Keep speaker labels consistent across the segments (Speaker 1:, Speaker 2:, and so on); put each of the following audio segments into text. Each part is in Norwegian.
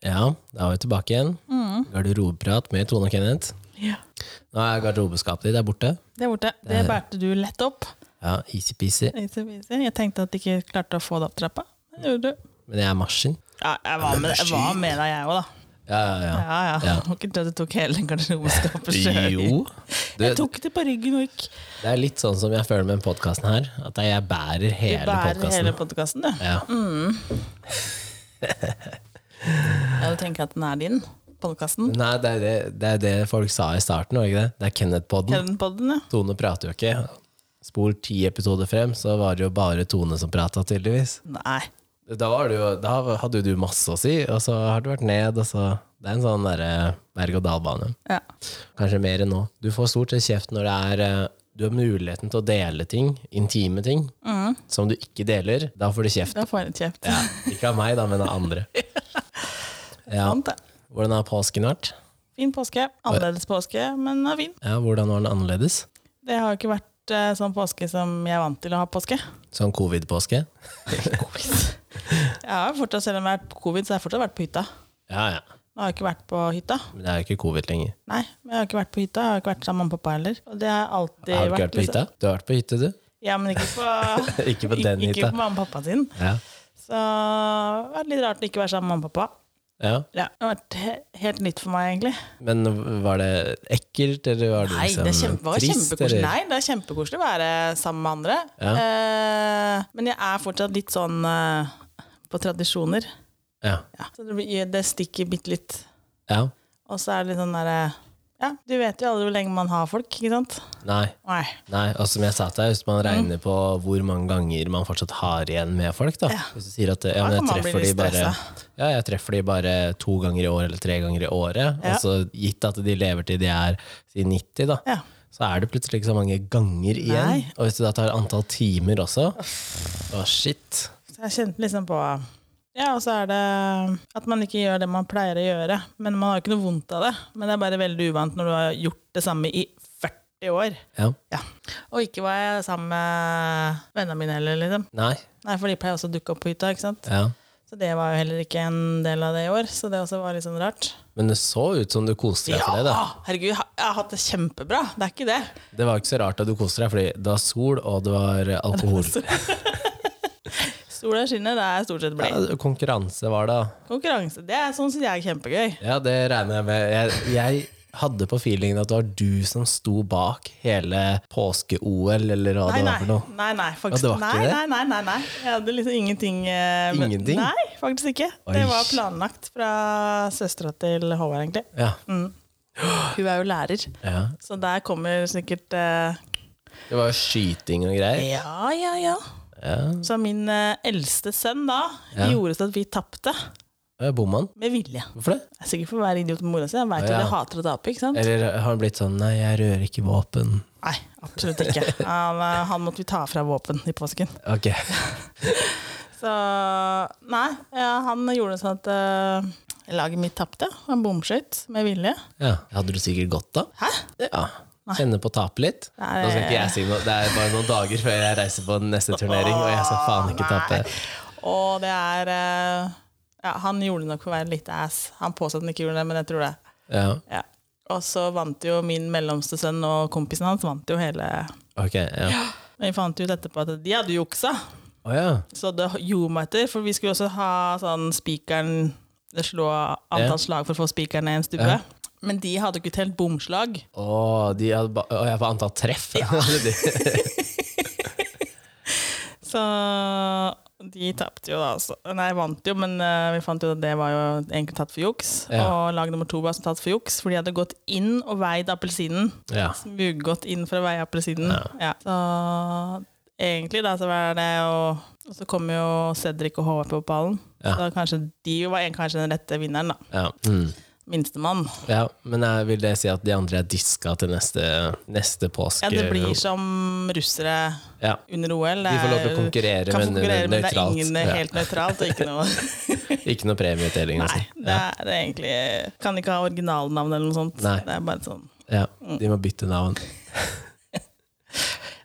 Speaker 1: Ja, da var vi tilbake igjen.
Speaker 2: Mm.
Speaker 1: Garderobeprat med Tone og Kenneth.
Speaker 2: Ja.
Speaker 1: Nå er garderobeskapet ditt der borte.
Speaker 2: Det er borte.
Speaker 1: Eh.
Speaker 2: Det bærte du lett opp.
Speaker 1: Ja, easy-peasy.
Speaker 2: Easy, peasy. Jeg tenkte at de ikke klarte å få det opp trappa. Det gjorde du.
Speaker 1: Men jeg er maskin.
Speaker 2: Ja, jeg var med, jeg var med deg, jeg òg, da.
Speaker 1: Ja, ja,
Speaker 2: Ja, ja.
Speaker 1: Ja.
Speaker 2: Må ikke tro at du tok hele garderobeskapet
Speaker 1: ja.
Speaker 2: sjøl.
Speaker 1: Jo. Du,
Speaker 2: Jeg tok det på ryggen og gikk.
Speaker 1: det er litt sånn som jeg føler med den podkasten her. At det er jeg bærer
Speaker 2: Du
Speaker 1: hele
Speaker 2: bærer hele Mm.
Speaker 1: podkasten.
Speaker 2: podkasten, du.
Speaker 1: Ja.
Speaker 2: Ja, du tenker at den er din, podkasten?
Speaker 1: Nei, det er det, det er det folk sa i starten, var det ikke det? Det er Kenneth-podden.
Speaker 2: Kjelleren-podden, ja.
Speaker 1: Tone prater jo ikke. Spol ti episoder frem, så var det jo bare Tone som prata, tydeligvis.
Speaker 2: Nei.
Speaker 1: Da, var det jo, da hadde jo du masse å si, og så har du vært ned, og så Det er en sånn derre berg-og-dal-bane.
Speaker 2: Ja.
Speaker 1: Kanskje mer enn nå. Du får stort sett kjeft når det er eh, du har muligheten til å dele ting, intime ting,
Speaker 2: Mm.
Speaker 1: som du ikke deler. Da får du kjeft.
Speaker 2: Da får jeg litt kjeft.
Speaker 1: Ja, ikke av meg, da, men av andre. Ja.
Speaker 2: Sant, det.
Speaker 1: Hvordan har påsken vært?
Speaker 2: Fin påske. Annerledes påske, men ja, fin.
Speaker 1: Ja, hvordan var den annerledes?
Speaker 2: Det har jo ikke vært eh, sånn påske som jeg er vant til å ha påske.
Speaker 1: Sånn covid-påske?
Speaker 2: Jeg har jo fortsatt, Selv om jeg har vært på covid, så har jeg fortsatt vært på hytta.
Speaker 1: Ja, ja.
Speaker 2: Nå har jeg ikke vært på hytta.
Speaker 1: Men det er jo ikke covid lenger.
Speaker 2: Nei, men jeg har ikke vært på hytta. Jeg har ikke vært sammen med pappa heller. Og det har jeg alltid
Speaker 1: Har du ikke vært på
Speaker 2: liksom-
Speaker 1: hytta? Du har vært på hytte, du?
Speaker 2: Ja, men ikke på,
Speaker 1: Ikke på den
Speaker 2: ikke,
Speaker 1: hytta.
Speaker 2: på mamma og pappa sin.
Speaker 1: Ja.
Speaker 2: Så det var litt rart å ikke være sammen med mamma og pappa.
Speaker 1: ja.
Speaker 2: Ja, det har vært he helt nytt for meg, egentlig.
Speaker 1: Men var det ekkelt, eller var det
Speaker 2: Nei,
Speaker 1: liksom
Speaker 2: det er kjempe, var
Speaker 1: trist?
Speaker 2: kjempekoselig.
Speaker 1: eller?
Speaker 2: Nei, det er kjempekoselig å være sammen med andre.
Speaker 1: Ja.
Speaker 2: Eh, men jeg er fortsatt litt sånn eh, på tradisjoner.
Speaker 1: Ja.
Speaker 2: Ja. Så det, blir, det stikker bitte litt.
Speaker 1: ja.
Speaker 2: Og så er det litt sånn derre Ja, du vet jo aldri hvor lenge man har folk, ikke sant?
Speaker 1: Nei.
Speaker 2: Nei.
Speaker 1: Nei, og som jeg sa til deg, hvis
Speaker 2: Mm.
Speaker 1: man regner på hvor mange ganger man fortsatt har igjen med folk, da.
Speaker 2: Ja.
Speaker 1: Hvis du sier at ja,
Speaker 2: Da
Speaker 1: men jeg
Speaker 2: kan man bli
Speaker 1: treffer de
Speaker 2: litt
Speaker 1: bare
Speaker 2: stresset.
Speaker 1: ja, jeg treffer de bare to ganger i år eller tre ganger i året,
Speaker 2: Ja.
Speaker 1: og så gitt at de lever til de er si 90, da,
Speaker 2: Ja.
Speaker 1: så er det plutselig ikke så mange ganger igjen.
Speaker 2: Nei.
Speaker 1: Og hvis du da tar antall timer også, å shit.
Speaker 2: Så jeg kjente liksom på Ja, og så er det at man ikke gjør det man pleier å gjøre. Men man har jo ikke noe vondt av det. Men det er bare veldig uvant når du har gjort det samme i 40 år.
Speaker 1: Ja.
Speaker 2: Ja. Og ikke var jeg sammen med vennene mine heller, liksom.
Speaker 1: Nei.
Speaker 2: Nei, for de pleier også å dukke opp på hytta, ikke sant.
Speaker 1: Ja.
Speaker 2: Så det var jo heller ikke en del av det i år, så det også var litt sånn rart.
Speaker 1: Men det så ut som du koste deg for det, da.
Speaker 2: herregud, ha- jeg har hatt det kjempebra. Det er ikke det.
Speaker 1: Det var ikke så rart at du koste deg, fordi det var sol, og det var eh, alkohol.
Speaker 2: Sola skinner, det er stort sett blid.
Speaker 1: Ja, konkurranse var det, da.
Speaker 2: Konkurranse, det er sånn som jeg er kjempegøy.
Speaker 1: Ja, det regner jeg med. Jeg, jeg hadde på feelingen at det var du som sto bak hele påske-OL, eller hva
Speaker 2: Nei,
Speaker 1: det
Speaker 2: nei,
Speaker 1: var for noe.
Speaker 2: nei, nei,
Speaker 1: Ja,
Speaker 2: faktisk,
Speaker 1: det var
Speaker 2: nei,
Speaker 1: ikke det?
Speaker 2: nei, nei, nei, nei. Jeg hadde liksom ingenting eh, men-
Speaker 1: Ingenting?
Speaker 2: Nei, faktisk ikke.
Speaker 1: Oi.
Speaker 2: Det var planlagt fra søstera til Håvard, egentlig.
Speaker 1: Ja.
Speaker 2: Hun er jo lærer,
Speaker 1: ja.
Speaker 2: så der kommer sikkert eh,
Speaker 1: Det var jo skyting og greier.
Speaker 2: Ja, ja, ja.
Speaker 1: Ja.
Speaker 2: Så min eh, eldste sønn da gjorde så at vi tapte.
Speaker 1: Ja, Bomma han?
Speaker 2: Med vilje.
Speaker 1: Hvorfor det?
Speaker 2: Det er sikkert for å være idiot med mora si. Han veit jo
Speaker 1: Ja.
Speaker 2: at jeg hater å tape, ikke sant?
Speaker 1: Eller har han blitt sånn 'nei, jeg rører ikke våpen'?
Speaker 2: Nei, absolutt ikke. Han, eh, han måtte vi ta fra våpen i påsken.
Speaker 1: Ok.
Speaker 2: Så nei, ja, han gjorde det sånn at eh, laget mitt tapte. Han bomskøyt med vilje.
Speaker 1: Ja. Hadde du sikkert godt av?
Speaker 2: Hæ?
Speaker 1: Ja. Kjenne på å tape litt?
Speaker 2: Nei.
Speaker 1: Nå skal ikke jeg si noe. Det er bare noen dager før jeg reiser på neste turnering, og jeg skal faen ikke tape.
Speaker 2: Og det er eh, Ja, han gjorde det nok for å være litt ass. Han påstod at han ikke gjorde det, men jeg tror det.
Speaker 1: Ja.
Speaker 2: Ja. Og så vant jo min mellomste sønn og kompisen hans vant jo hele
Speaker 1: Ok, ja.
Speaker 2: Men vi fant ut etterpå at de hadde juksa,
Speaker 1: Å ja.
Speaker 2: så det gjorde meg etter. For vi skulle også ha sånn spikeren Slå
Speaker 1: Ja.
Speaker 2: antall slag for å få spikeren ned i en stubbe. Men de hadde jo ikke telt bomslag.
Speaker 1: Å, de hadde ba å, jeg får antall treff. De-
Speaker 2: Så de tapte jo da, altså. Nei, vant jo, men eh, vi fant jo at det var jo egentlig tatt for juks.
Speaker 1: Ja.
Speaker 2: Og lag nummer to var også tatt for juks, for de hadde gått inn og veid appelsinen.
Speaker 1: ja.
Speaker 2: Smuggått inn for å veie appelsinen.
Speaker 1: Ja.
Speaker 2: Ja. Så egentlig da, så var det jo Og så kom jo Cedric og Håvard på ballen.
Speaker 1: Ja.
Speaker 2: Så kanskje de var en, kanskje den rette vinneren, da.
Speaker 1: Ja. Mm.
Speaker 2: Minstemann.
Speaker 1: ja. Men jeg vil det si at de andre er diska til neste, neste påske?
Speaker 2: Ja, det blir som russere
Speaker 1: Ja.
Speaker 2: under OL.
Speaker 1: De får lov til å
Speaker 2: Det er-
Speaker 1: konkurrere,
Speaker 2: kan
Speaker 1: men
Speaker 2: konkurrere, men det er
Speaker 1: nøytralt.
Speaker 2: ingen
Speaker 1: Ja.
Speaker 2: helt nøytralt, og ikke noe
Speaker 1: Ikke noe premieutdeling.
Speaker 2: Nei,
Speaker 1: Altså.
Speaker 2: det er, det er egentlig Kan ikke ha originalnavn eller noe sånt.
Speaker 1: Nei.
Speaker 2: Det er bare sånn
Speaker 1: Ja. De må bytte navn.
Speaker 2: Ja,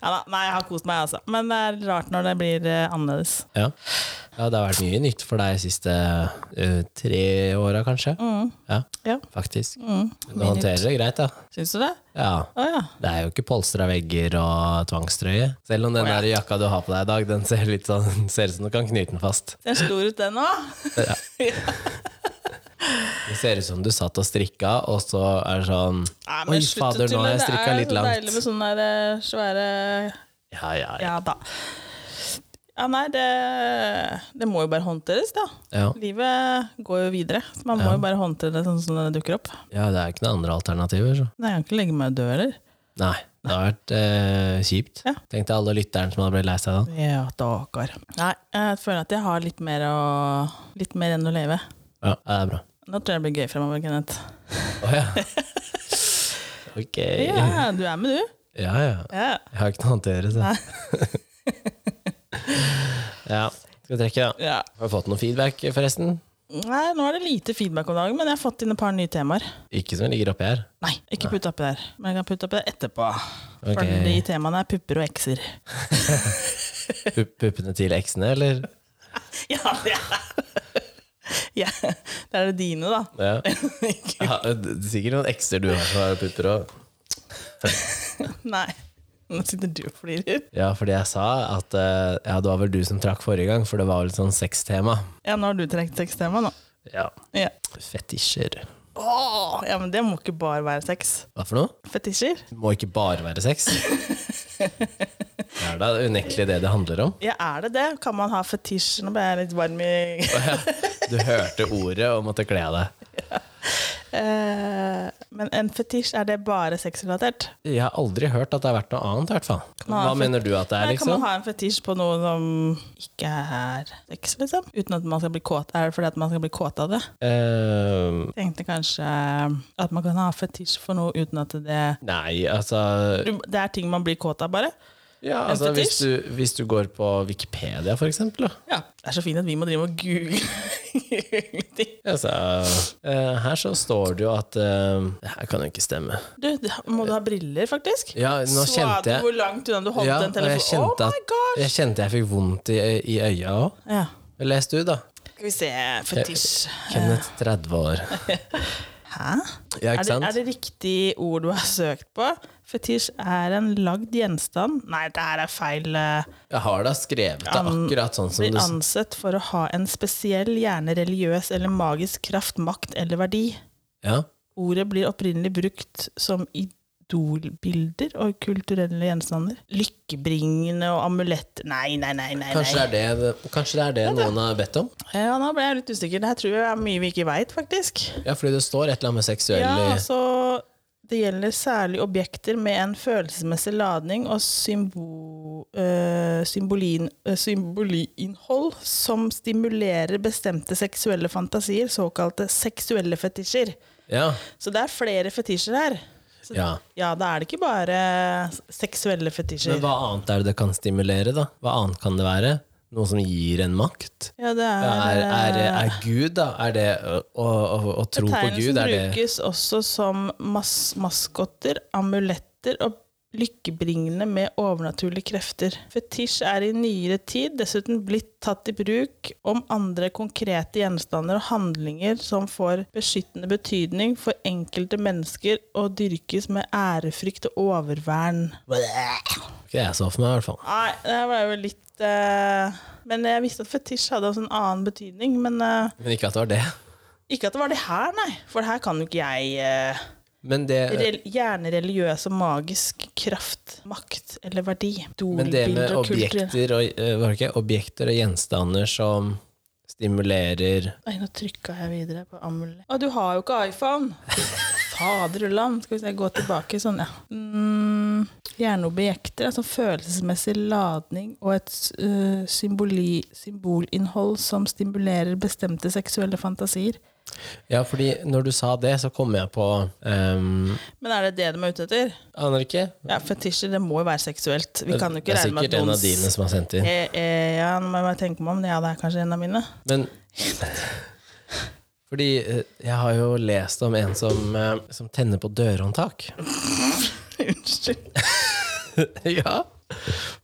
Speaker 2: Ja da, nei, jeg har kost meg, altså. Men det er rart når det blir eh, annerledes.
Speaker 1: Ja. ja, det har vært mye nytt for deg de siste eh, tre åra, kanskje. Ja,
Speaker 2: Mm. Ja.
Speaker 1: faktisk.
Speaker 2: Mm.
Speaker 1: Du håndterer det greit, da.
Speaker 2: Syns du det?
Speaker 1: Ja.
Speaker 2: Å ja.
Speaker 1: Det er jo ikke polstra vegger og tvangstrøye. Selv om den der jakka du har på deg i dag, den ser litt sånn Ser ut som du kan knyte den fast.
Speaker 2: Ser stor ut, den òg.
Speaker 1: Det ser ut som du satt og strikka, og så er det sånn Oi, fader, nå har jeg strikka litt
Speaker 2: Det er så deilig
Speaker 1: langt.
Speaker 2: med sånne der, eh, svære
Speaker 1: Ja, ja, ja.
Speaker 2: Ja da. Ja, nei, det, det må jo bare håndteres, da.
Speaker 1: ja.
Speaker 2: Livet går jo videre, så man må jo bare håndtere det sånn som det dukker opp.
Speaker 1: Ja, det er ikke noen andre alternativer, så.
Speaker 2: Nei, jeg kan ikke legge meg død, eller?
Speaker 1: Nei. Det har vært eh, kjipt.
Speaker 2: Ja.
Speaker 1: Tenk deg alle lytterne som hadde blitt lei seg da.
Speaker 2: Ja, dager. Nei, jeg føler at jeg har litt mer, å, litt mer enn å leve.
Speaker 1: Ja, det er bra.
Speaker 2: Nå tror jeg det blir gøy fremover, Kenneth.
Speaker 1: Å ja. Ok. Ja,
Speaker 2: Ja, du er med, du.
Speaker 1: ja.
Speaker 2: Ja.
Speaker 1: Jeg har ikke noe annet å gjøre, så. ja. Skal vi trekke, da?
Speaker 2: ja.
Speaker 1: Har du fått noe feedback, forresten?
Speaker 2: Nei, nå er det lite feedback om dagen, men jeg har fått inn et par nye temaer.
Speaker 1: Ikke som ligger oppi her.
Speaker 2: Nei, ikke putt oppi der. Men jeg kan putte oppi der etterpå.
Speaker 1: Ok.
Speaker 2: For de temaene er pupper og ekser.
Speaker 1: Pup puppene til eksene, eller?
Speaker 2: Ja, ja. ja. Det er det dine, da.
Speaker 1: Ja. ja det er sikkert noen ekser du har som har pupper òg.
Speaker 2: Nei. Nå sitter du og flirer.
Speaker 1: Ja, fordi jeg sa at eh, ja, det var vel du som trakk forrige gang, for det var vel et sånn sextema.
Speaker 2: Ja, nå har du trukket sextema, nå.
Speaker 1: Ja.
Speaker 2: Ja.
Speaker 1: Fetisjer.
Speaker 2: Åh, ja, men det må ikke bare være sex.
Speaker 1: Hva for noe?
Speaker 2: Fetisjer?
Speaker 1: Det må ikke bare være sex. Det er da unektelig det det handler om.
Speaker 2: Ja, er det det? Kan man ha fetisj? Nå ble jeg litt varm i
Speaker 1: Du hørte ordet og måtte kle av deg.
Speaker 2: Eh, Men en fetisj, er det bare sexrelatert?
Speaker 1: Jeg har aldri hørt at det har vært noe annet, i hvert fall.
Speaker 2: man ha
Speaker 1: Hva
Speaker 2: fet-
Speaker 1: mener du at det er,
Speaker 2: Nei, Kan man
Speaker 1: liksom?
Speaker 2: ha en fetisj på noe som ikke er sex, liksom? Uten at man skal bli kåt? Er det fordi at man skal bli kåt av det?
Speaker 1: Eh,
Speaker 2: Tenkte kanskje eh, at man kan ha fetisj for noe uten at det
Speaker 1: nei, altså
Speaker 2: du, Det er ting man blir kåt av, bare?
Speaker 1: Ja, altså hvis
Speaker 2: fetisj?
Speaker 1: du, hvis du går på Wikipedia, for eksempel. Da.
Speaker 2: Ja. Det er så fint at vi må drive og google google ting.
Speaker 1: Altså, eh, her så står det jo at eh, Det her kan jo ikke stemme.
Speaker 2: Du, må du ha briller, faktisk?
Speaker 1: Ja, nå
Speaker 2: Så
Speaker 1: kjente
Speaker 2: du
Speaker 1: jeg
Speaker 2: hvor langt unna du holdt
Speaker 1: ja,
Speaker 2: den
Speaker 1: og jeg
Speaker 2: telefonen.
Speaker 1: kjente,
Speaker 2: Oh my
Speaker 1: at,
Speaker 2: god!
Speaker 1: jeg kjente jeg fikk vondt i, i øya òg.
Speaker 2: Ja.
Speaker 1: Les du, da.
Speaker 2: Skal vi se Fetisj.
Speaker 1: Kenneth, 30 år.
Speaker 2: Hæ?
Speaker 1: Ja,
Speaker 2: Er
Speaker 1: ikke
Speaker 2: det, er
Speaker 1: sant?
Speaker 2: det riktig ord du har søkt på? Fetisj er en lagd gjenstand Nei, det her er feil. eh,
Speaker 1: Jeg har da skrevet det
Speaker 2: An-
Speaker 1: akkurat sånn som
Speaker 2: Blir
Speaker 1: du s-
Speaker 2: ansett for å ha en spesiell, gjerne religiøs eller magisk kraft, makt eller verdi.
Speaker 1: Ja.
Speaker 2: Ordet blir opprinnelig brukt som idolbilder og kulturelle gjenstander. Lykkebringende og amulett Nei, nei, nei. nei, nei.
Speaker 1: Kanskje det er det, kanskje det, er det noen har bedt om?
Speaker 2: Ja, nå ble jeg litt usikker. Det her tror jeg er mye vi ikke veit, faktisk.
Speaker 1: Ja, fordi det står et eller annet med seksuell
Speaker 2: Ja, altså Det gjelder særlig objekter med en følelsesmessig ladning og symbo, øh, symbolin, øh, symbolinnhold som stimulerer bestemte seksuelle fantasier, såkalte seksuelle fetisjer.
Speaker 1: Ja.
Speaker 2: Så det er flere fetisjer her. Så,
Speaker 1: Ja.
Speaker 2: da er det ikke bare seksuelle fetisjer.
Speaker 1: Men hva annet er det det kan stimulere, da? Hva annet kan det være? Noe som gir en makt?
Speaker 2: ja, det er,
Speaker 1: Er, er,
Speaker 2: Ah.
Speaker 1: er Gud, da? Er det å, å, å tro på Gud?
Speaker 2: Betegnelsen
Speaker 1: Er det
Speaker 2: brukes også som mas maskotter, amuletter og lykkebringende med overnaturlige krefter. Fetisj er i nyere tid dessuten blitt tatt i bruk om andre konkrete gjenstander og handlinger som får beskyttende betydning for enkelte mennesker og dyrkes med ærefrykt og oververn.
Speaker 1: ikke det jeg så for meg, i hvert fall.
Speaker 2: Nei, det var jo litt eh, Men jeg visste at fetisj hadde også en annen betydning, men eh,
Speaker 1: Men ikke at det var det.
Speaker 2: ikke at det var det her, nei. For det her kan jo ikke jeg eh,
Speaker 1: Men det,
Speaker 2: Rel gjerne religiøs og magisk kraft, makt eller verdi.
Speaker 1: men det med
Speaker 2: Dolbilder og kultur.
Speaker 1: objekter og, eh, var det ikke? objekter og gjenstander som stimulerer
Speaker 2: Nei, nå trykka jeg videre på amulett. Å, du har jo ikke iPhone! Faderullan! Skal vi se, gå tilbake sånn, ja. Mm, gjerne objekter, altså følelsesmessig ladning og et øh, symboli, symbolinnhold som stimulerer bestemte seksuelle fantasier.
Speaker 1: Ja, fordi når du sa det, så kom jeg på um,
Speaker 2: Men er det det de er ute etter?
Speaker 1: Aner ikke.
Speaker 2: Ja, Fetisjer, det må jo være seksuelt. Vi kan jo
Speaker 1: Det
Speaker 2: ikke
Speaker 1: er
Speaker 2: regne med
Speaker 1: sikkert
Speaker 2: at
Speaker 1: en
Speaker 2: noen
Speaker 1: av dine som har sendt inn.
Speaker 2: Eh, eh, ja, nå må jeg bare tenke meg om. Ja, det er kanskje en av mine.
Speaker 1: Men Fordi eh, jeg har jo lest om en som, eh, som tenner på dørhåndtak.
Speaker 2: Unnskyld.
Speaker 1: ja.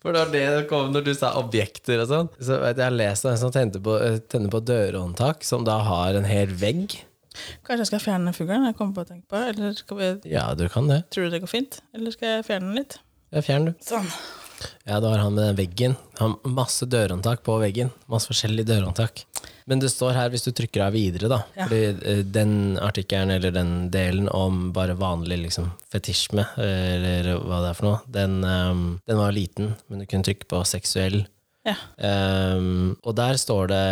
Speaker 1: For det var det som kom når du sa objekter og sånn. Så vet jeg, jeg har lest om en som tenner på, tenner på dørhåndtak, som da har en hel vegg.
Speaker 2: Kanskje jeg skal fjerne den fuglen jeg kommer på å tenke på? Eller skal vi,
Speaker 1: Ja, du kan det.
Speaker 2: tror du det går fint? Eller skal jeg fjerne den litt?
Speaker 1: Ja, fjern du.
Speaker 2: Sånn.
Speaker 1: Ja, da har han med den veggen. Han har masse dørhåndtak på veggen. Masse forskjellige dørhåndtak. Men det står her, hvis du trykker av videre, da
Speaker 2: Ja.
Speaker 1: Fordi eh, den artikkelen, eller den delen om bare vanlig liksom, fetisjme, eller hva det er for noe, den, eh, den var liten, men du kunne trykke på seksuell.
Speaker 2: Ja.
Speaker 1: Eh, og der står det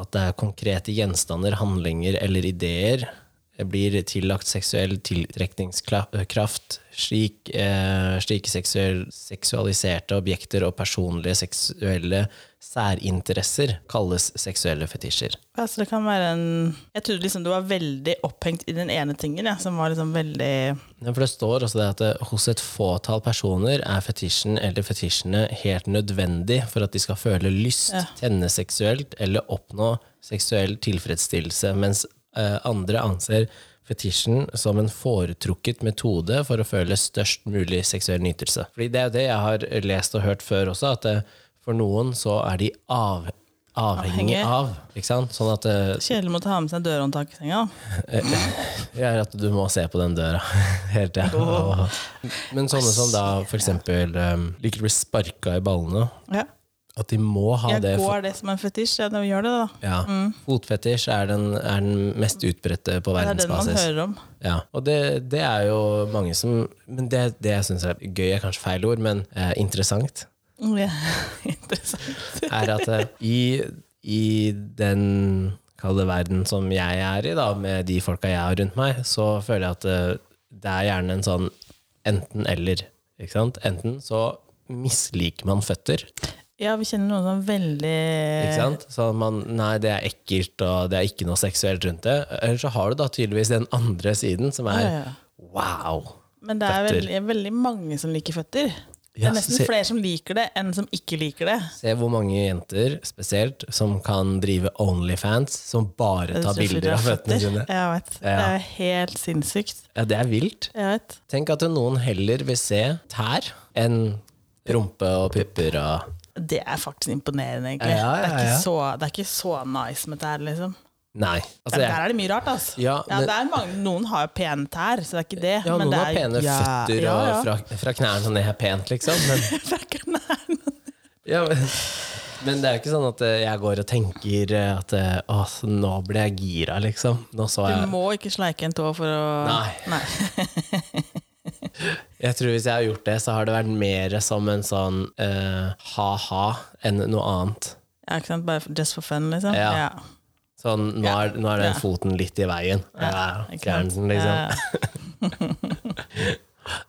Speaker 1: at det er konkrete gjenstander, handlinger eller ideer eh, blir tillagt seksuell tiltrekningskraft, slik, eh, slike seksuell, seksualiserte objekter og personlige seksuelle særinteresser kalles seksuelle fetisjer.
Speaker 2: Altså det kan være en Jeg trodde liksom du var veldig opphengt i den ene tingen, ja, som var liksom veldig
Speaker 1: Ja, For det står også det at eh, hos et fåtall personer er fetisjen eller fetisjene helt nødvendig for at de skal føle lyst, tenne seksuelt eller oppnå seksuell tilfredsstillelse, mens eh, andre anser fetisjen som en foretrukket metode for å føle størst mulig seksuell nytelse. Fordi det er jo det jeg har lest og hørt før også, at eh, for noen så er de av, avhengig
Speaker 2: Avhengig.
Speaker 1: av, ikke sant? Sånn at eh,
Speaker 2: Kjedelig å ta med seg dørhåndtak i senga. da.
Speaker 1: ja, at du må se på den døra hele tida. Men sånne som da f.eks. Um, liker å bli sparka i ballene,
Speaker 2: Ja.
Speaker 1: at de må ha
Speaker 2: Jeg
Speaker 1: det for,
Speaker 2: går det som en fetisj. Ja, da gjør det, da.
Speaker 1: ja. Fotfetisj er den, er den mest utbredte på
Speaker 2: Det er den man
Speaker 1: verdensbasis.
Speaker 2: hører om.
Speaker 1: Ja. Og det, det er jo mange som Men det, det jeg syns er gøy, er kanskje feil ord, men eh, interessant,
Speaker 2: Ja. Interessant.
Speaker 1: er at eh, i, i den kalde verden som jeg er i, da, med de folka jeg har rundt meg, så føler jeg at eh, det er gjerne en sånn enten-eller. Ikke sant? Enten så misliker man føtter,
Speaker 2: Ja, vi kjenner noen som er
Speaker 1: ikke
Speaker 2: veldig
Speaker 1: sant? Så man, nei, det er ekkelt, og det er ikke noe seksuelt rundt det. Eller så har du da tydeligvis den andre siden, som
Speaker 2: Ja,
Speaker 1: er
Speaker 2: ja.
Speaker 1: wow.
Speaker 2: Men det er
Speaker 1: Føtter.
Speaker 2: veldig, veldig mange som liker føtter. Det
Speaker 1: Ja,
Speaker 2: er nesten
Speaker 1: se-
Speaker 2: flere som liker det, enn som ikke liker det.
Speaker 1: Se hvor mange jenter spesielt som kan drive Onlyfans, som bare tar bilder av føttene sine.
Speaker 2: Jeg vet. Det
Speaker 1: Ja.
Speaker 2: er helt sinnssykt.
Speaker 1: Ja, det er vilt.
Speaker 2: Jeg vet.
Speaker 1: Tenk at noen heller vil se tær enn rumpe og pupper og
Speaker 2: Det er faktisk imponerende, egentlig.
Speaker 1: Ja, ja,
Speaker 2: Det,
Speaker 1: ja.
Speaker 2: er ikke så, det er ikke så nice med tær, liksom.
Speaker 1: Nei. Altså,
Speaker 2: Der,
Speaker 1: jeg,
Speaker 2: der er det mye rart, altså.
Speaker 1: Ja,
Speaker 2: ja,
Speaker 1: men-
Speaker 2: det er mange, noen har jo pene tær, så det er ikke det.
Speaker 1: ja,
Speaker 2: men
Speaker 1: noen
Speaker 2: det
Speaker 1: har
Speaker 2: er,
Speaker 1: pene
Speaker 2: ja,
Speaker 1: føtter
Speaker 2: ja, ja.
Speaker 1: og fra, fra knærne og ned er pent, liksom. Men,
Speaker 2: Fra knærne.
Speaker 1: ja, men, men det er jo ikke sånn at eh, jeg går og tenker eh, at eh, å, så nå ble jeg gira, liksom. Nå så
Speaker 2: Du
Speaker 1: jeg
Speaker 2: må ikke sleike en tå for å
Speaker 1: Nei. Jeg tror hvis jeg har gjort det, så har det vært mer som en sånn eh, ha-ha enn noe annet.
Speaker 2: Ja, ikke sant? Bare for, just for fun, liksom.
Speaker 1: Ja. Sånn, nå er, nå er den foten litt i veien. Ja,
Speaker 2: ikke sant?
Speaker 1: Grensen, liksom.
Speaker 2: Ja.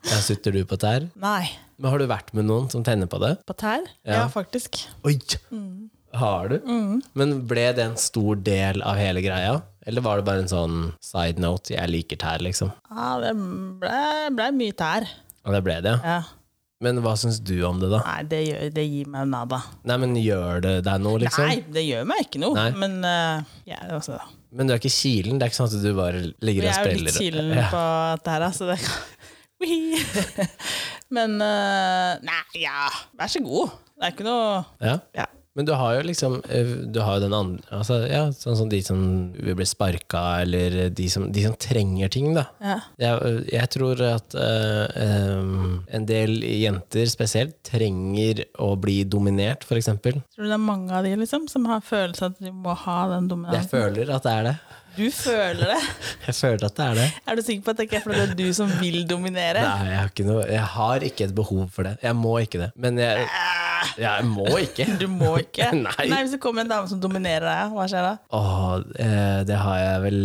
Speaker 1: Ja, Sutter du på tær?
Speaker 2: Nei.
Speaker 1: Men har du vært med noen som tenner på det?
Speaker 2: På tær? Ja, faktisk.
Speaker 1: Oi! Har du?
Speaker 2: Mm.
Speaker 1: Men ble det en stor del av hele greia? Eller var det bare en sånn side note? Jeg liker tær, liksom.
Speaker 2: Ja, det ble, ble mye tær.
Speaker 1: Og det ble det, ja.
Speaker 2: Ja.
Speaker 1: Men hva syns du om det, da?
Speaker 2: Nei, det, gjør, det gir meg nada.
Speaker 1: Nei, men gjør det deg noe, liksom?
Speaker 2: Nei, det gjør meg ikke noe,
Speaker 1: Nei.
Speaker 2: men eh, ja, det er også det.
Speaker 1: Men du er ikke kilen? Det er ikke sånn at du bare ligger og
Speaker 2: Jeg er jo
Speaker 1: spiller?
Speaker 2: litt kilen
Speaker 1: Ja.
Speaker 2: på dette her, altså. Det kan... Men eh, Nei, ja, vær så god. Det er ikke noe
Speaker 1: Ja.
Speaker 2: Ja.
Speaker 1: Men du har jo liksom eh, Du har jo den andre altså, ja, Sånn som de som blir sparka, eller de som, de som trenger ting, da.
Speaker 2: ja.
Speaker 1: Jeg, jeg tror at eh, em, en del jenter spesielt trenger å bli dominert, f.eks.
Speaker 2: Tror du det er mange av de liksom, som har følelse at de må ha den
Speaker 1: Jeg
Speaker 2: dominansen?
Speaker 1: føler at det er det.
Speaker 2: Du føler det?
Speaker 1: Jeg føler at det er det.
Speaker 2: Er du sikker på at det ikke er fordi det er du som vil dominere?
Speaker 1: Nei, jeg har ikke, noe, jeg har ikke et behov for det. Jeg må ikke det. Men jeg,
Speaker 2: Ah,
Speaker 1: jeg må ikke.
Speaker 2: Du må ikke.
Speaker 1: Nei.
Speaker 2: Hvis det kommer en dame som dominerer deg, hva skjer da?
Speaker 1: Åh, eh, det har jeg vel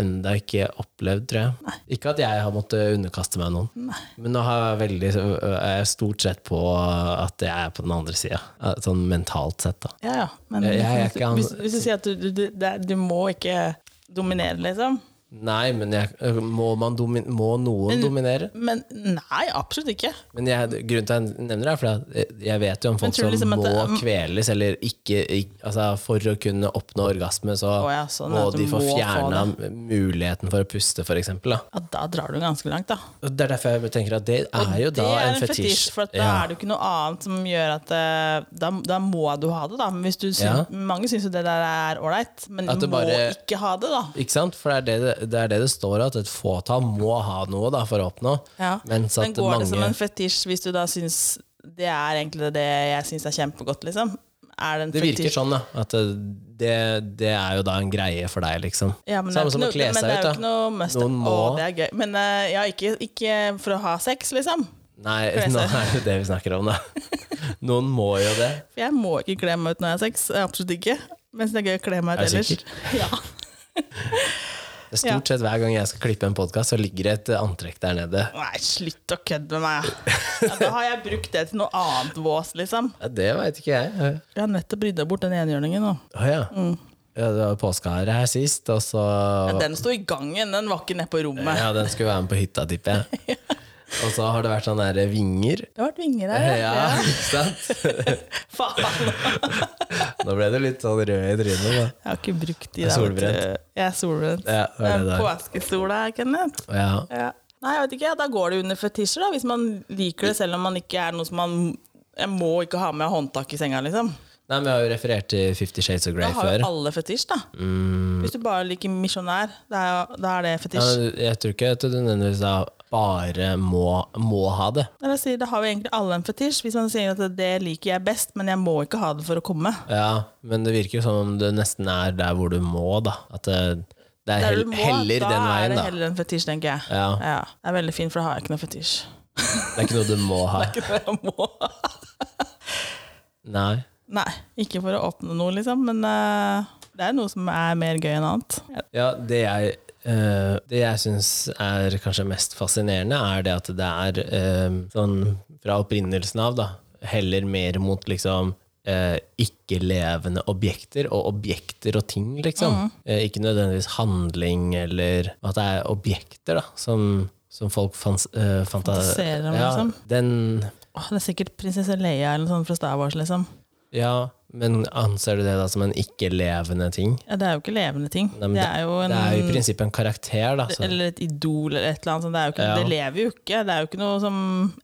Speaker 1: enda ikke opplevd, tror jeg. Ikke at jeg har måttet underkaste meg noen. Men nå har jeg veldig, er jeg stort sett på at jeg er på den andre sida. Sånn mentalt sett, da.
Speaker 2: Ja, ja. Men
Speaker 1: Jeg- jeg er ikke han-
Speaker 2: hvis, hvis du sier at du, du, du, det er- du må ikke dominere, liksom,
Speaker 1: Nei, men jeg, må, man domi må noen dominere?
Speaker 2: Men nei, absolutt ikke.
Speaker 1: Men jeg, grunnen til at jeg nevner det, er fordi at jeg vet jo om folk
Speaker 2: tror du
Speaker 1: som
Speaker 2: liksom at
Speaker 1: må
Speaker 2: det-
Speaker 1: kveles, eller ikke ik- altså For å kunne oppnå orgasme, så
Speaker 2: Å ja, sånn
Speaker 1: må
Speaker 2: at du
Speaker 1: de få
Speaker 2: må få
Speaker 1: fjerna muligheten for å puste, f.eks.
Speaker 2: Ja, da drar du ganske langt, da.
Speaker 1: Det er derfor jeg tenker at det er jo da
Speaker 2: det er
Speaker 1: en fetisj.
Speaker 2: for at da
Speaker 1: ja.
Speaker 2: er det jo ikke noe annet som gjør at eh, da, da må du ha det, da. Men hvis du
Speaker 1: Ja.
Speaker 2: syns, Mange syns jo det der er ålreit, men
Speaker 1: At
Speaker 2: du
Speaker 1: det
Speaker 2: må
Speaker 1: bare-
Speaker 2: ikke ha det, da.
Speaker 1: Ikke sant? For det er det det, det er det det står at et fåtall må ha noe da, for å oppnå.
Speaker 2: Ja.
Speaker 1: Mens
Speaker 2: Men
Speaker 1: at
Speaker 2: går det
Speaker 1: mange
Speaker 2: som en fetisj hvis du da syns det er egentlig det jeg syns er kjempegodt, liksom? Er det en
Speaker 1: Det virker
Speaker 2: fetisj?
Speaker 1: sånn, da. At det, det- det er jo da en greie for deg, liksom.
Speaker 2: Ja, men
Speaker 1: Samme
Speaker 2: det er jo
Speaker 1: som å
Speaker 2: ikke
Speaker 1: kle
Speaker 2: noe- men
Speaker 1: seg
Speaker 2: det
Speaker 1: ut,
Speaker 2: er jo
Speaker 1: da.
Speaker 2: ikke noe must-
Speaker 1: Noen må.
Speaker 2: Å, det er gøy. Men eh, ja, ikke, ikke for å ha sex, liksom.
Speaker 1: Nei,
Speaker 2: Kle seg
Speaker 1: nå
Speaker 2: ut.
Speaker 1: er det det vi snakker om, da. Noen må jo det.
Speaker 2: For jeg må ikke kle meg ut når jeg har sex. Absolutt ikke. Mens det er gøy å kle meg
Speaker 1: Er
Speaker 2: ut
Speaker 1: du
Speaker 2: ellers.
Speaker 1: sikker?
Speaker 2: Ja.
Speaker 1: Det er Stort sett hver gang jeg skal klippe en podkast, så ligger det et eh, antrekk der nede.
Speaker 2: Nei, slutt å kødde med meg. Ja, da har jeg brukt det til noe annet vås, liksom.
Speaker 1: Ja, det veit ikke jeg.
Speaker 2: Jeg har nettopp rydda bort den enhjørningen nå.
Speaker 1: Å ja. ja. Det var påskehare her sist, og så
Speaker 2: Mm. Ja, den sto i gangen, den var ikke nede på rommet.
Speaker 1: Ja, den skulle være med på hytta, tipper jeg. Og så har det vært sånne der vinger.
Speaker 2: Det har vært vinger her. ja.
Speaker 1: Ja, ikke sant?
Speaker 2: Faen.
Speaker 1: Nå ble du litt sånn rød i trynet. da.
Speaker 2: Jeg har ikke brukt de
Speaker 1: Jeg er
Speaker 2: der. vet du.
Speaker 1: solbrent.
Speaker 2: Jeg er solbrent.
Speaker 1: Ja, det er det
Speaker 2: Det
Speaker 1: der.
Speaker 2: er Påskesola, Kenneth.
Speaker 1: Ja.
Speaker 2: Ja. Nei, jeg vet ikke. ja, Da går det under fetisjer, da. Hvis man liker det, selv om man ikke er noe som man Jeg må ikke ha med håndtak i senga, liksom.
Speaker 1: Nei, men Jeg har jo referert til Fifty Shades of
Speaker 2: Da
Speaker 1: Grey
Speaker 2: har
Speaker 1: før.
Speaker 2: jo alle fetisj, da. Hvis du bare liker misjonær, da er, da er
Speaker 1: Mm.
Speaker 2: det
Speaker 1: Ja,
Speaker 2: fetisj.
Speaker 1: men jeg tror ikke at du nødvendigvis da bare må, må ha det.
Speaker 2: Eller jeg sier, Da har jo egentlig alle en fetisj. Hvis man sier at det liker jeg best, men jeg må ikke ha det for å komme.
Speaker 1: Ja, Men det virker jo som om det nesten er der hvor du må, da. At det, det er
Speaker 2: Der
Speaker 1: hell,
Speaker 2: du må,
Speaker 1: heller
Speaker 2: da
Speaker 1: den
Speaker 2: er
Speaker 1: veien,
Speaker 2: det
Speaker 1: da.
Speaker 2: heller en fetisj, tenker jeg.
Speaker 1: Ja,
Speaker 2: Ja, Det er veldig fint, for da har jeg ikke noe fetisj.
Speaker 1: Det er ikke noe du må ha.
Speaker 2: Ikke for å må.
Speaker 1: Nei.
Speaker 2: Nei, ikke for å oppnå noe, liksom, men eh, det er noe som er mer gøy enn annet.
Speaker 1: Ja, det jeg eh, det jeg syns er kanskje mest fascinerende, er det at det er eh, sånn fra opprinnelsen av, da, heller mer mot liksom eh, ikke-levende objekter, og objekter og ting, liksom.
Speaker 2: Mm.
Speaker 1: Eh, ikke nødvendigvis handling, eller at det er objekter da, som, som folk fans, eh, fanta-
Speaker 2: Fantaserer om,
Speaker 1: ja,
Speaker 2: liksom.
Speaker 1: Den
Speaker 2: Åh, det er sikkert prinsesse Leia eller noe sånt fra Star Wars, liksom.
Speaker 1: Ja, men anser du det da som en ikke-levende ting?
Speaker 2: Ja, det er jo ikke levende ting.
Speaker 1: Nei, men
Speaker 2: det er jo en
Speaker 1: Det er jo i prinsippet en karakter, da. Så,
Speaker 2: Eller et idol eller et eller annet sånt. Det, er jo ikke,
Speaker 1: Ja.
Speaker 2: det lever jo ikke. Det er jo ikke noe som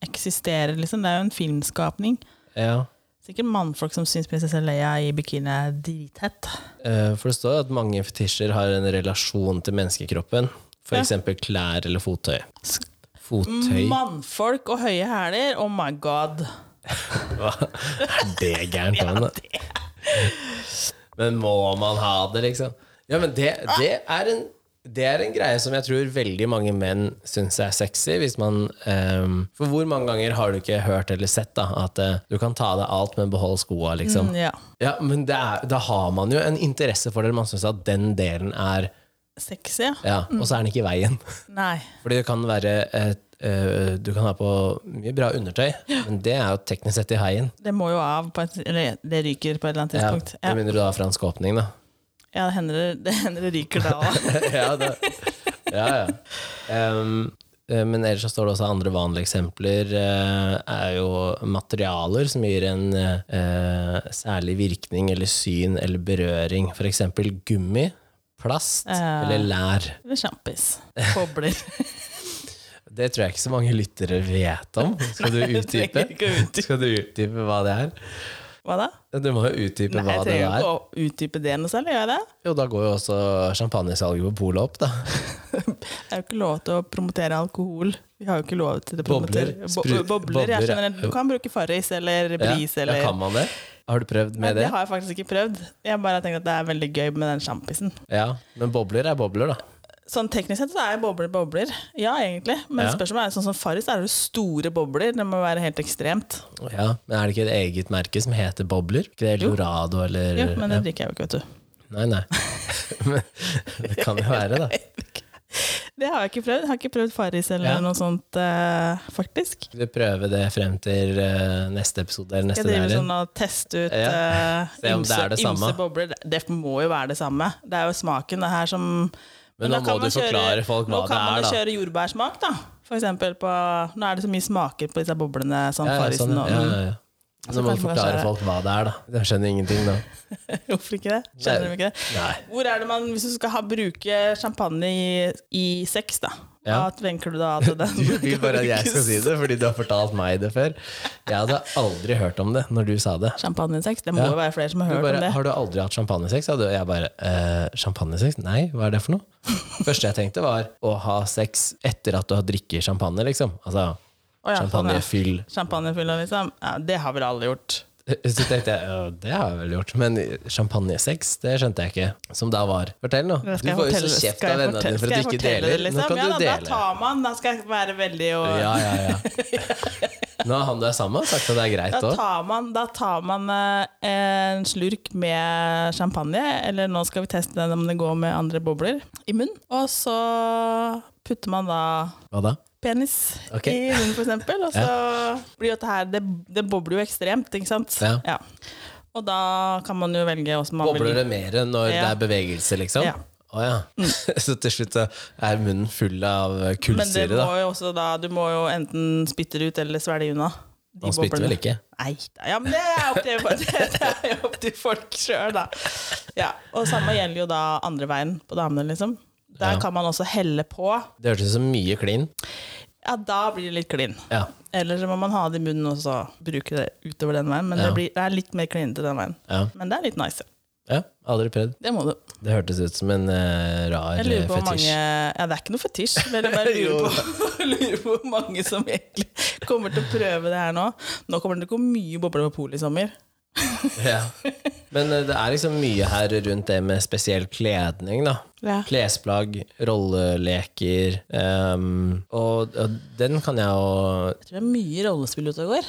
Speaker 2: eksisterer, liksom. Det er jo en filmskapning.
Speaker 1: ja.
Speaker 2: Sikkert mannfolk som syns prinsesse Leia i bikini er drithett.
Speaker 1: Eh, For det står jo at mange fetisjer har en relasjon til menneskekroppen. For
Speaker 2: Ja.
Speaker 1: eksempel klær eller fottøy. Fottøy?
Speaker 2: Mannfolk og høye hæler, oh my god.
Speaker 1: Hva er det gærent? Anne? Men må man ha det, liksom? Ja, men det, det, er en, det er en greie som jeg tror veldig mange menn syns er sexy. Hvis man, ehm, for hvor mange ganger har du ikke hørt eller sett da, at eh, du kan ta av deg alt, men beholde skoa? Liksom.
Speaker 2: Mm, ja.
Speaker 1: Ja, men det er, da har man jo en interesse for det. Man syns at den delen er
Speaker 2: Sexy, ja.
Speaker 1: ja, Og så er den ikke i veien.
Speaker 2: Nei.
Speaker 1: Mm. Fordi det kan være et, eh, Du kan ha på mye bra undertøy, men det er jo teknisk sett i heien.
Speaker 2: Det må jo av, på et, eller det ryker på et eller annet
Speaker 1: Ja,
Speaker 2: tidspunkt. Ja,
Speaker 1: Med mindre du har fransk åpning, da.
Speaker 2: ja det, hender, det- det hender det ryker da òg.
Speaker 1: ja, det, ja, ja. Em, eh, men ellers så står det også andre vanlige eksempler. eh, er jo materialer som gir en eh, særlig virkning eller syn eller berøring. F.eks. gummi, plast
Speaker 2: Ja.
Speaker 1: eller lær.
Speaker 2: Eller sjampis. Bobler.
Speaker 1: Det tror jeg ikke så mange lyttere vet om. Skal du utdype?
Speaker 2: trenger ikke å utdype.
Speaker 1: Skal du utdype hva det er?
Speaker 2: Hva da?
Speaker 1: Du må jo utdype
Speaker 2: Nei,
Speaker 1: hva
Speaker 2: jeg
Speaker 1: det
Speaker 2: trenger
Speaker 1: er.
Speaker 2: ikke å utdype det noe særlig, gjør jeg det?
Speaker 1: Jo, da går jo også champagnesalget på polet opp, da.
Speaker 2: Det er jo ikke lov til å promotere alkohol. Vi har jo ikke lov til å
Speaker 1: Bobler.
Speaker 2: promotere Bo
Speaker 1: Spru-
Speaker 2: bobler.
Speaker 1: bobler,
Speaker 2: Jeg
Speaker 1: ja.
Speaker 2: skjønner, du kan bruke Farris eller Bris
Speaker 1: ja,
Speaker 2: eller
Speaker 1: ja, kan man det? Har du prøvd
Speaker 2: Nei,
Speaker 1: med det?
Speaker 2: har jeg faktisk ikke prøvd. Jeg bare har tenkt at det er veldig gøy med den sjampisen.
Speaker 1: Ja, Men bobler er bobler, da.
Speaker 2: Sånn teknisk sett så er bobler bobler. Ja, egentlig. Men
Speaker 1: Ja.
Speaker 2: spørsmålet er sånn som Farris er det jo store bobler. Det må være helt ekstremt.
Speaker 1: Ja, Men er det ikke et eget merke som heter bobler? Ikke det Eldorado eller
Speaker 2: Jo, men det drikker jeg jo ikke, vet du.
Speaker 1: Nei, nei. men det kan jo være, da.
Speaker 2: Det har jeg ikke prøvd. Jeg har ikke prøvd Farris eller
Speaker 1: Ja.
Speaker 2: noe sånt, eh, faktisk.
Speaker 1: Skal vi prøve det frem til eh, neste episode eller
Speaker 2: Jeg
Speaker 1: neste
Speaker 2: driver
Speaker 1: lærer?
Speaker 2: sånn og tester ut
Speaker 1: Ja.
Speaker 2: eh,
Speaker 1: Se om det
Speaker 2: ymse,
Speaker 1: er det samme.
Speaker 2: ymse bobler. Det- Det må jo være det samme. Det er jo smaken det her som
Speaker 1: Men, da
Speaker 2: kan
Speaker 1: må
Speaker 2: man
Speaker 1: du forklare folk hva
Speaker 2: nå
Speaker 1: det
Speaker 2: kan man
Speaker 1: er,
Speaker 2: jo
Speaker 1: da.
Speaker 2: kjøre jordbærsmak, da. For eksempel på Nå er det så mye smaker på disse boblene, sånn
Speaker 1: Ja, ja,
Speaker 2: farisen
Speaker 1: sånn, ja,
Speaker 2: og
Speaker 1: ja, ja, ja. Så
Speaker 2: Så
Speaker 1: må
Speaker 2: kanskje
Speaker 1: du
Speaker 2: man
Speaker 1: forklare
Speaker 2: skjønner.
Speaker 1: folk hva det er, da. Jeg skjønner ingenting, da.
Speaker 2: Hvorfor ikke det? Skjønner de ikke det?
Speaker 1: Nei.
Speaker 2: Hvor er det man, Hvis du skal ha, bruke champagne i, i sex, da, hva
Speaker 1: Ja.
Speaker 2: tenker du da at den
Speaker 1: Du vil bare at jeg skal si det, fordi du har fortalt meg det før. Jeg hadde aldri hørt om det når du sa det.
Speaker 2: Champagne i sex? Det må
Speaker 1: Ja.
Speaker 2: jo være flere som har
Speaker 1: Du
Speaker 2: hørt
Speaker 1: bare,
Speaker 2: om det.
Speaker 1: har du aldri hatt champagnesex? Og jeg bare eh, Champagnesex? Nei, hva er det for noe? første jeg tenkte, var å ha sex etter at du har drukket champagne, liksom. Altså
Speaker 2: Å, ja, sånn, ja.
Speaker 1: champagnefyll.
Speaker 2: Champagnefylla, liksom? Ja, det har vel alle gjort.
Speaker 1: Så tenkte jeg ja, det har jeg vel gjort, men champagnesex, det skjønte jeg ikke. Som da var. Fortell nå.
Speaker 2: Skal
Speaker 1: Du
Speaker 2: jeg
Speaker 1: får jo så
Speaker 2: fortelle-
Speaker 1: kjeft
Speaker 2: skal
Speaker 1: av
Speaker 2: jeg
Speaker 1: vennene dine
Speaker 2: fortelle-
Speaker 1: for
Speaker 2: skal
Speaker 1: at
Speaker 2: jeg
Speaker 1: du ikke
Speaker 2: fortelle det,
Speaker 1: deler. Nå
Speaker 2: liksom?
Speaker 1: kan
Speaker 2: ja,
Speaker 1: du
Speaker 2: da, Da
Speaker 1: dele.
Speaker 2: tar man, da skal jeg være veldig og
Speaker 1: Ja, ja, ja. Nå har han du er sammen med, sagt at det er greit
Speaker 2: Da
Speaker 1: òg.
Speaker 2: tar man, da tar man eh, en slurk med champagne, eller nå skal vi teste den om det går med andre bobler, i munn. Og så putter man da
Speaker 1: Hva da?
Speaker 2: penis
Speaker 1: Ok.
Speaker 2: i munnen, for eksempel. Og så blir jo dette her Det, det bobler jo ekstremt, ikke sant?
Speaker 1: Ja.
Speaker 2: Og da kan man jo velge åssen man
Speaker 1: Bobler
Speaker 2: vil.
Speaker 1: det mer når det
Speaker 2: Ja.
Speaker 1: er bevegelse, liksom?
Speaker 2: Ja. Mm.
Speaker 1: Å ja. Så til slutt så er munnen full av
Speaker 2: Men det
Speaker 1: kullsyre,
Speaker 2: må
Speaker 1: da.
Speaker 2: jo også da Du må jo enten spytte det ut eller svelge unna. de
Speaker 1: Han spytter
Speaker 2: boblene.
Speaker 1: vel ikke?
Speaker 2: Nei, da- ja, men det er opp til, det er jo opp til folk sjøl, da. Ja, og samme gjelder jo da andre veien på damene, liksom. Der
Speaker 1: Ja.
Speaker 2: kan man også helle på.
Speaker 1: Det hørtes ut som mye klin.
Speaker 2: Ja, da blir det litt klin.
Speaker 1: Ja.
Speaker 2: Eller så må man ha det i munnen og så bruke det utover den veien. Men
Speaker 1: Ja.
Speaker 2: det, blir, det er litt mer klinete den veien.
Speaker 1: ja.
Speaker 2: Men det er litt nice.
Speaker 1: ja. Aldri prøvd.
Speaker 2: Det må du.
Speaker 1: Det hørtes ut som en eh, rar
Speaker 2: Jeg lurer på
Speaker 1: eh,
Speaker 2: hvor mange
Speaker 1: fetisj.
Speaker 2: Ja, det er ikke noe fetisj, men jeg bare lurer på, lurer på hvor mange som egentlig kommer til å prøve det her nå. Nå kommer det til å gå mye bobler på polet i sommer.
Speaker 1: Ja. Men eh, det er liksom mye her rundt det med spesiell kledning, da.
Speaker 2: Ja.
Speaker 1: Klesplagg, rolleleker ehm, og, og den kan jeg jo
Speaker 2: Jeg tror det er mye rollespill ute og går.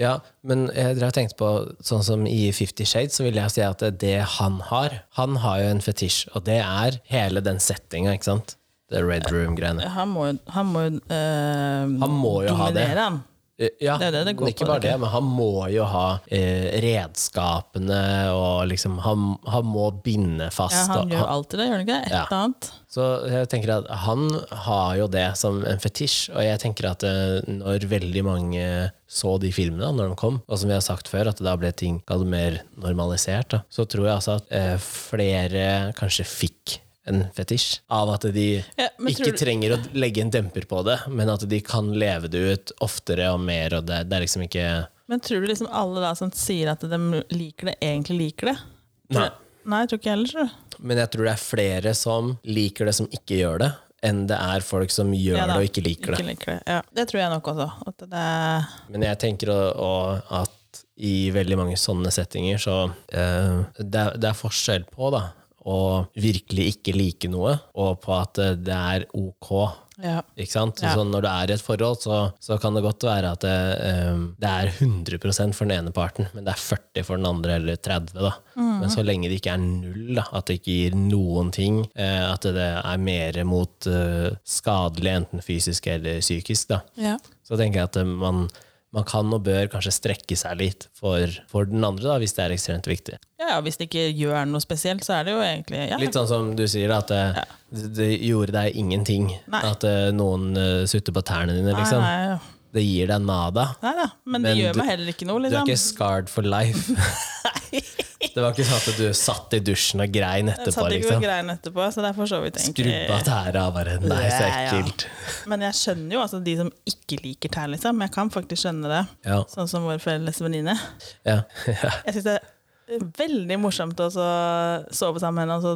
Speaker 1: Ja, men jeg drev og tenkte på Sånn som i Fifty Shades, så vil jeg si at det han har Han har jo en fetisj, og det er hele den settinga, ikke sant? Det Red Room-greiene.
Speaker 2: Han må jo, han må jo, eh,
Speaker 1: Han må jo ha det.
Speaker 2: dominere han.
Speaker 1: Eh, Ja,
Speaker 2: Det er det det går
Speaker 1: ikke
Speaker 2: på,
Speaker 1: bare
Speaker 2: ikke?
Speaker 1: det, men han må jo ha eh, redskapene og liksom Han, han må binde fast.
Speaker 2: Ja, han
Speaker 1: og
Speaker 2: gjør alltid det, gjør han ikke det? Et
Speaker 1: Ja.
Speaker 2: eller annet.
Speaker 1: Så jeg tenker at han har jo det som en fetisj, og jeg tenker at eh, når veldig mange så de filmene da, når de kom, og som vi har sagt før, at da ble ting kall det mer normalisert, da, så tror jeg altså at eh, flere kanskje fikk en fetisj av at de
Speaker 2: Ja, men
Speaker 1: ikke
Speaker 2: tror du-
Speaker 1: trenger å legge en demper på det, men at de kan leve det ut oftere og mer, og det, det er liksom ikke
Speaker 2: Men tror du liksom alle da som sier at de liker det, egentlig liker det?
Speaker 1: Nei.
Speaker 2: Nei, jeg tror ikke jeg heller, tror du.
Speaker 1: Men jeg tror det er flere som liker det, som ikke gjør det, enn det er folk som gjør
Speaker 2: Ja da,
Speaker 1: det og ikke liker det.
Speaker 2: Ikke liker det. Ja, det tror jeg nok også. At det er
Speaker 1: Men jeg tenker å- å- at i veldig mange sånne settinger så eh, det, er, det er forskjell på da, å virkelig ikke like noe, og på at eh, det er ok.
Speaker 2: ja.
Speaker 1: Ikke sant?
Speaker 2: Ja.
Speaker 1: Så sånn når du er i et forhold, så, så kan det godt være at det, eh, det er 100 for den ene parten, men det er 40 for den andre, eller 30. da. Men så lenge det ikke er null, da, at det ikke gir noen ting, eh, at det er mer mot eh, skadelig, enten fysisk eller psykisk, da,
Speaker 2: Ja.
Speaker 1: så tenker jeg at eh, man, man kan og bør kanskje strekke seg litt for, for den andre, da, hvis det er ekstremt viktig.
Speaker 2: ja, ja, hvis det ikke gjør noe spesielt, så er det jo egentlig ja.
Speaker 1: Litt sånn som du sier, da, at eh, det, det gjorde deg ingenting
Speaker 2: Nei.
Speaker 1: at eh, noen eh, sutter på tærne dine. liksom.
Speaker 2: Nei, nei, ja.
Speaker 1: Det gir deg nada.
Speaker 2: nei da, men, det
Speaker 1: Men
Speaker 2: gjør
Speaker 1: du-
Speaker 2: meg heller ikke noe,
Speaker 1: Du er
Speaker 2: liksom.
Speaker 1: ikke scarred for life. det var ikke sånn at du satt i dusjen og grein
Speaker 2: Jeg
Speaker 1: etterpå.
Speaker 2: satt ikke og
Speaker 1: liksom.
Speaker 2: grein etterpå, så det er for så vidt egentlig
Speaker 1: Skrubba tæra og bare Nei, så
Speaker 2: Ja, ja.
Speaker 1: ekkelt.
Speaker 2: Men jeg skjønner jo altså de som ikke liker tær, liksom. Jeg kan faktisk skjønne det.
Speaker 1: Ja,
Speaker 2: Sånn som vår felles venninne.
Speaker 1: ja, ja.
Speaker 2: Jeg syns det er veldig morsomt å så sove sammen med henne og så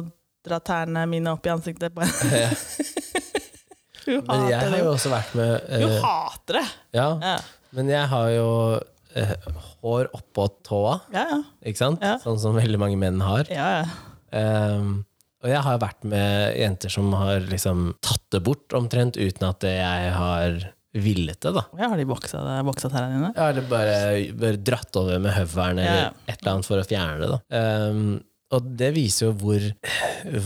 Speaker 2: dra tærne mine opp i ansiktet. Bare. Hun
Speaker 1: Men jeg
Speaker 2: hater
Speaker 1: har
Speaker 2: det.
Speaker 1: jo også vært med
Speaker 2: Hun
Speaker 1: eh,
Speaker 2: hater det!
Speaker 1: ja,
Speaker 2: Ja,
Speaker 1: Men jeg har jo eh, hår oppå tåa,
Speaker 2: ja. ja.
Speaker 1: ikke sant?
Speaker 2: Ja.
Speaker 1: Sånn som veldig mange menn har.
Speaker 2: ja, ja.
Speaker 1: Ehm, og jeg har vært med jenter som har liksom tatt det bort omtrent uten at jeg har villet det, da.
Speaker 2: Ja, Har de boksa, boksa tærne dine?
Speaker 1: Ja, eller bare, bare dratt over med høveren eller
Speaker 2: Ja, ja.
Speaker 1: et eller annet for å fjerne det. Da. Ehm, og det viser jo hvor,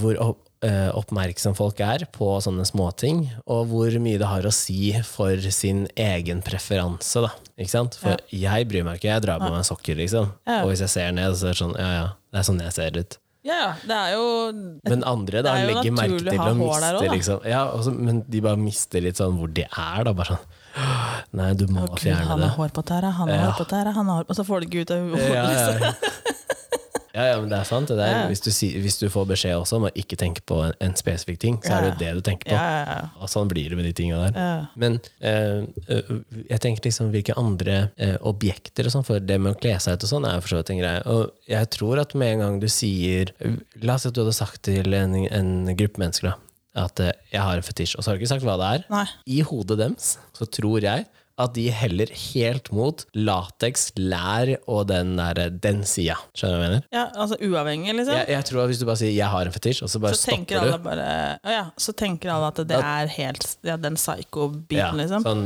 Speaker 1: hvor opp, eh, oppmerksom folk er på sånne småting, og hvor mye det har å si for sin egen preferanse. Da. Ikke sant? For jeg bryr meg ikke, jeg drar på meg sokker, liksom.
Speaker 2: Ja.
Speaker 1: Og hvis jeg ser ned, så er det sånn, ja ja, det er sånn jeg ser ut.
Speaker 2: Ja, ja. Det er jo
Speaker 1: Men andre da
Speaker 2: Det er jo
Speaker 1: legger merke
Speaker 2: naturlig
Speaker 1: til
Speaker 2: å ha
Speaker 1: å
Speaker 2: hår der
Speaker 1: miste,
Speaker 2: også, da.
Speaker 1: liksom. Ja, også, men de bare mister litt sånn hvor de er, da. Bare sånn Nei, du må
Speaker 2: Å, Gud,
Speaker 1: fjerne
Speaker 2: han
Speaker 1: det.
Speaker 2: har hår på tæra, han har
Speaker 1: Ja.
Speaker 2: hår på tæra, han har Og så får du ikke ut av liksom. hodet.
Speaker 1: Ja, ja, ja. ja, ja, men det er sant. Det der.
Speaker 2: Ja.
Speaker 1: Hvis, du, si- hvis du får beskjed også om å ikke tenke på en, en spesifikk ting, så er det jo det du tenker på.
Speaker 2: Ja, ja, ja.
Speaker 1: Og sånn blir det med de tinga der.
Speaker 2: ja.
Speaker 1: Men eh, eh, jeg tenker liksom hvilke andre eh, objekter og sånn for det med å kle seg ut og sånn, er jo for så vidt en greie. Og jeg tror at med en gang du sier La oss si at du hadde sagt til en, en gruppe mennesker da, at eh, jeg har en fetisj, og så har du ikke sagt hva det er.
Speaker 2: Nei.
Speaker 1: I hodet deres så tror jeg at de heller helt mot lateks, lær og den der, eh, den sida. Skjønner du hva jeg mener?
Speaker 2: ja, altså uavhengig, liksom.
Speaker 1: Jeg, jeg tror at Hvis du bare sier 'jeg har en fetisj', og så bare
Speaker 2: så tenker
Speaker 1: stopper
Speaker 2: alle
Speaker 1: du.
Speaker 2: bare Å ja, så tenker alle at det er helt ja, den
Speaker 1: Ja,
Speaker 2: psycho-biten, liksom.
Speaker 1: Sånn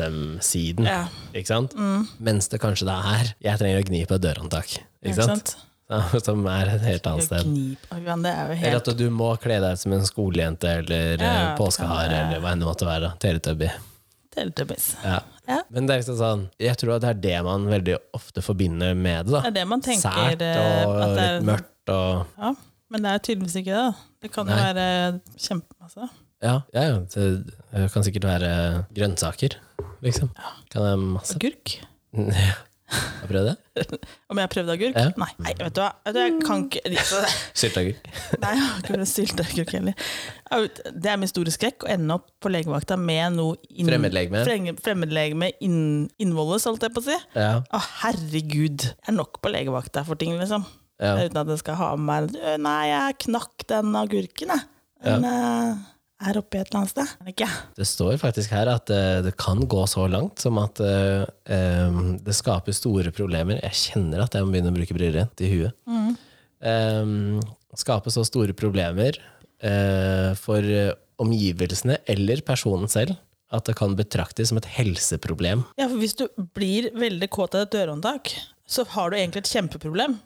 Speaker 1: BDSM-siden.
Speaker 2: Ja, Mm.
Speaker 1: Ikke sant? Mens det kanskje det er Jeg trenger å gni på et dørhåndtak. Ikke sant? Som er et helt annet sted.
Speaker 2: Knip, Å, Johan, det er jo
Speaker 1: Eller
Speaker 2: helt
Speaker 1: at du må kle deg ut som en skolejente eller
Speaker 2: Ja,
Speaker 1: eh,
Speaker 2: det kan
Speaker 1: påskehare
Speaker 2: være.
Speaker 1: eller hva enn det måtte være. Teletubby.
Speaker 2: Teletubbies.
Speaker 1: Ja.
Speaker 2: Ja.
Speaker 1: Men det er liksom sånn Jeg tror at det er det man veldig ofte forbinder med det.
Speaker 2: Det
Speaker 1: da
Speaker 2: er det man tenker
Speaker 1: Sært
Speaker 2: eh,
Speaker 1: og
Speaker 2: at det er,
Speaker 1: litt mørkt og
Speaker 2: Ja, men det er tydeligvis ikke det. da. Det kan jo
Speaker 1: Nei.
Speaker 2: være altså, kjempemasse.
Speaker 1: Ja, ja ja, det eh, kan sikkert være grønnsaker, liksom. Kan være masse
Speaker 2: Agurk.
Speaker 1: Ja. Har du prøvd det?
Speaker 2: Om jeg har prøvd agurk?
Speaker 1: Ja.
Speaker 2: Nei, nei, vet du hva. Vet du, Jeg kan ikke
Speaker 1: Sylteagurk.
Speaker 2: Nei, jeg har ikke prøvd sylteagurk heller. Jeg vet- Det er min store skrekk å ende opp på legevakta med noe inn-
Speaker 1: Fremmedlegeme.
Speaker 2: frem- Fremmedlegeme inn, innvolles, holdt jeg på å si.
Speaker 1: Ja.
Speaker 2: Å, herregud. Jeg er nok på legevakta for ting, liksom.
Speaker 1: ja.
Speaker 2: Uten at jeg skal ha med meg «Ø, Nei, jeg knakk den agurken, jeg. Den eh, er oppe et eller annet sted. Er den Ikke?
Speaker 1: Det står faktisk her at eh, det kan gå så langt som at eh, em, det skaper store problemer. Jeg kjenner at jeg må begynne å bruke brillene i huet.
Speaker 2: Mm.
Speaker 1: Em, skape så store problemer eh, for eh, omgivelsene eller personen selv at det kan betraktes som et helseproblem.
Speaker 2: Ja, for hvis du blir veldig kåt av et dørhåndtak, så har du egentlig et kjempeproblem.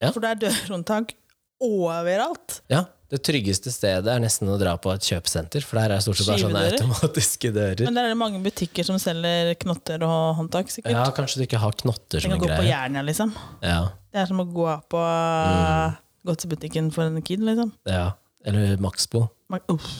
Speaker 1: Ja.
Speaker 2: For det er dørhåndtak overalt.
Speaker 1: Ja, Det tryggeste stedet er nesten å dra på et kjøpesenter, for der er stort sett bare sånne
Speaker 2: Skyvedører.
Speaker 1: automatiske dører.
Speaker 2: Men der er det mange butikker som selger knotter og håndtak, sikkert.
Speaker 1: Ja, Kanskje du ikke har knotter
Speaker 2: Du
Speaker 1: som
Speaker 2: kan
Speaker 1: en
Speaker 2: gå på
Speaker 1: greie.
Speaker 2: Jernia, liksom.
Speaker 1: Ja,
Speaker 2: Det er som å gå på mm. godtebutikken for en kid, liksom.
Speaker 1: ja. Eller Maxbo.
Speaker 2: Man, uff.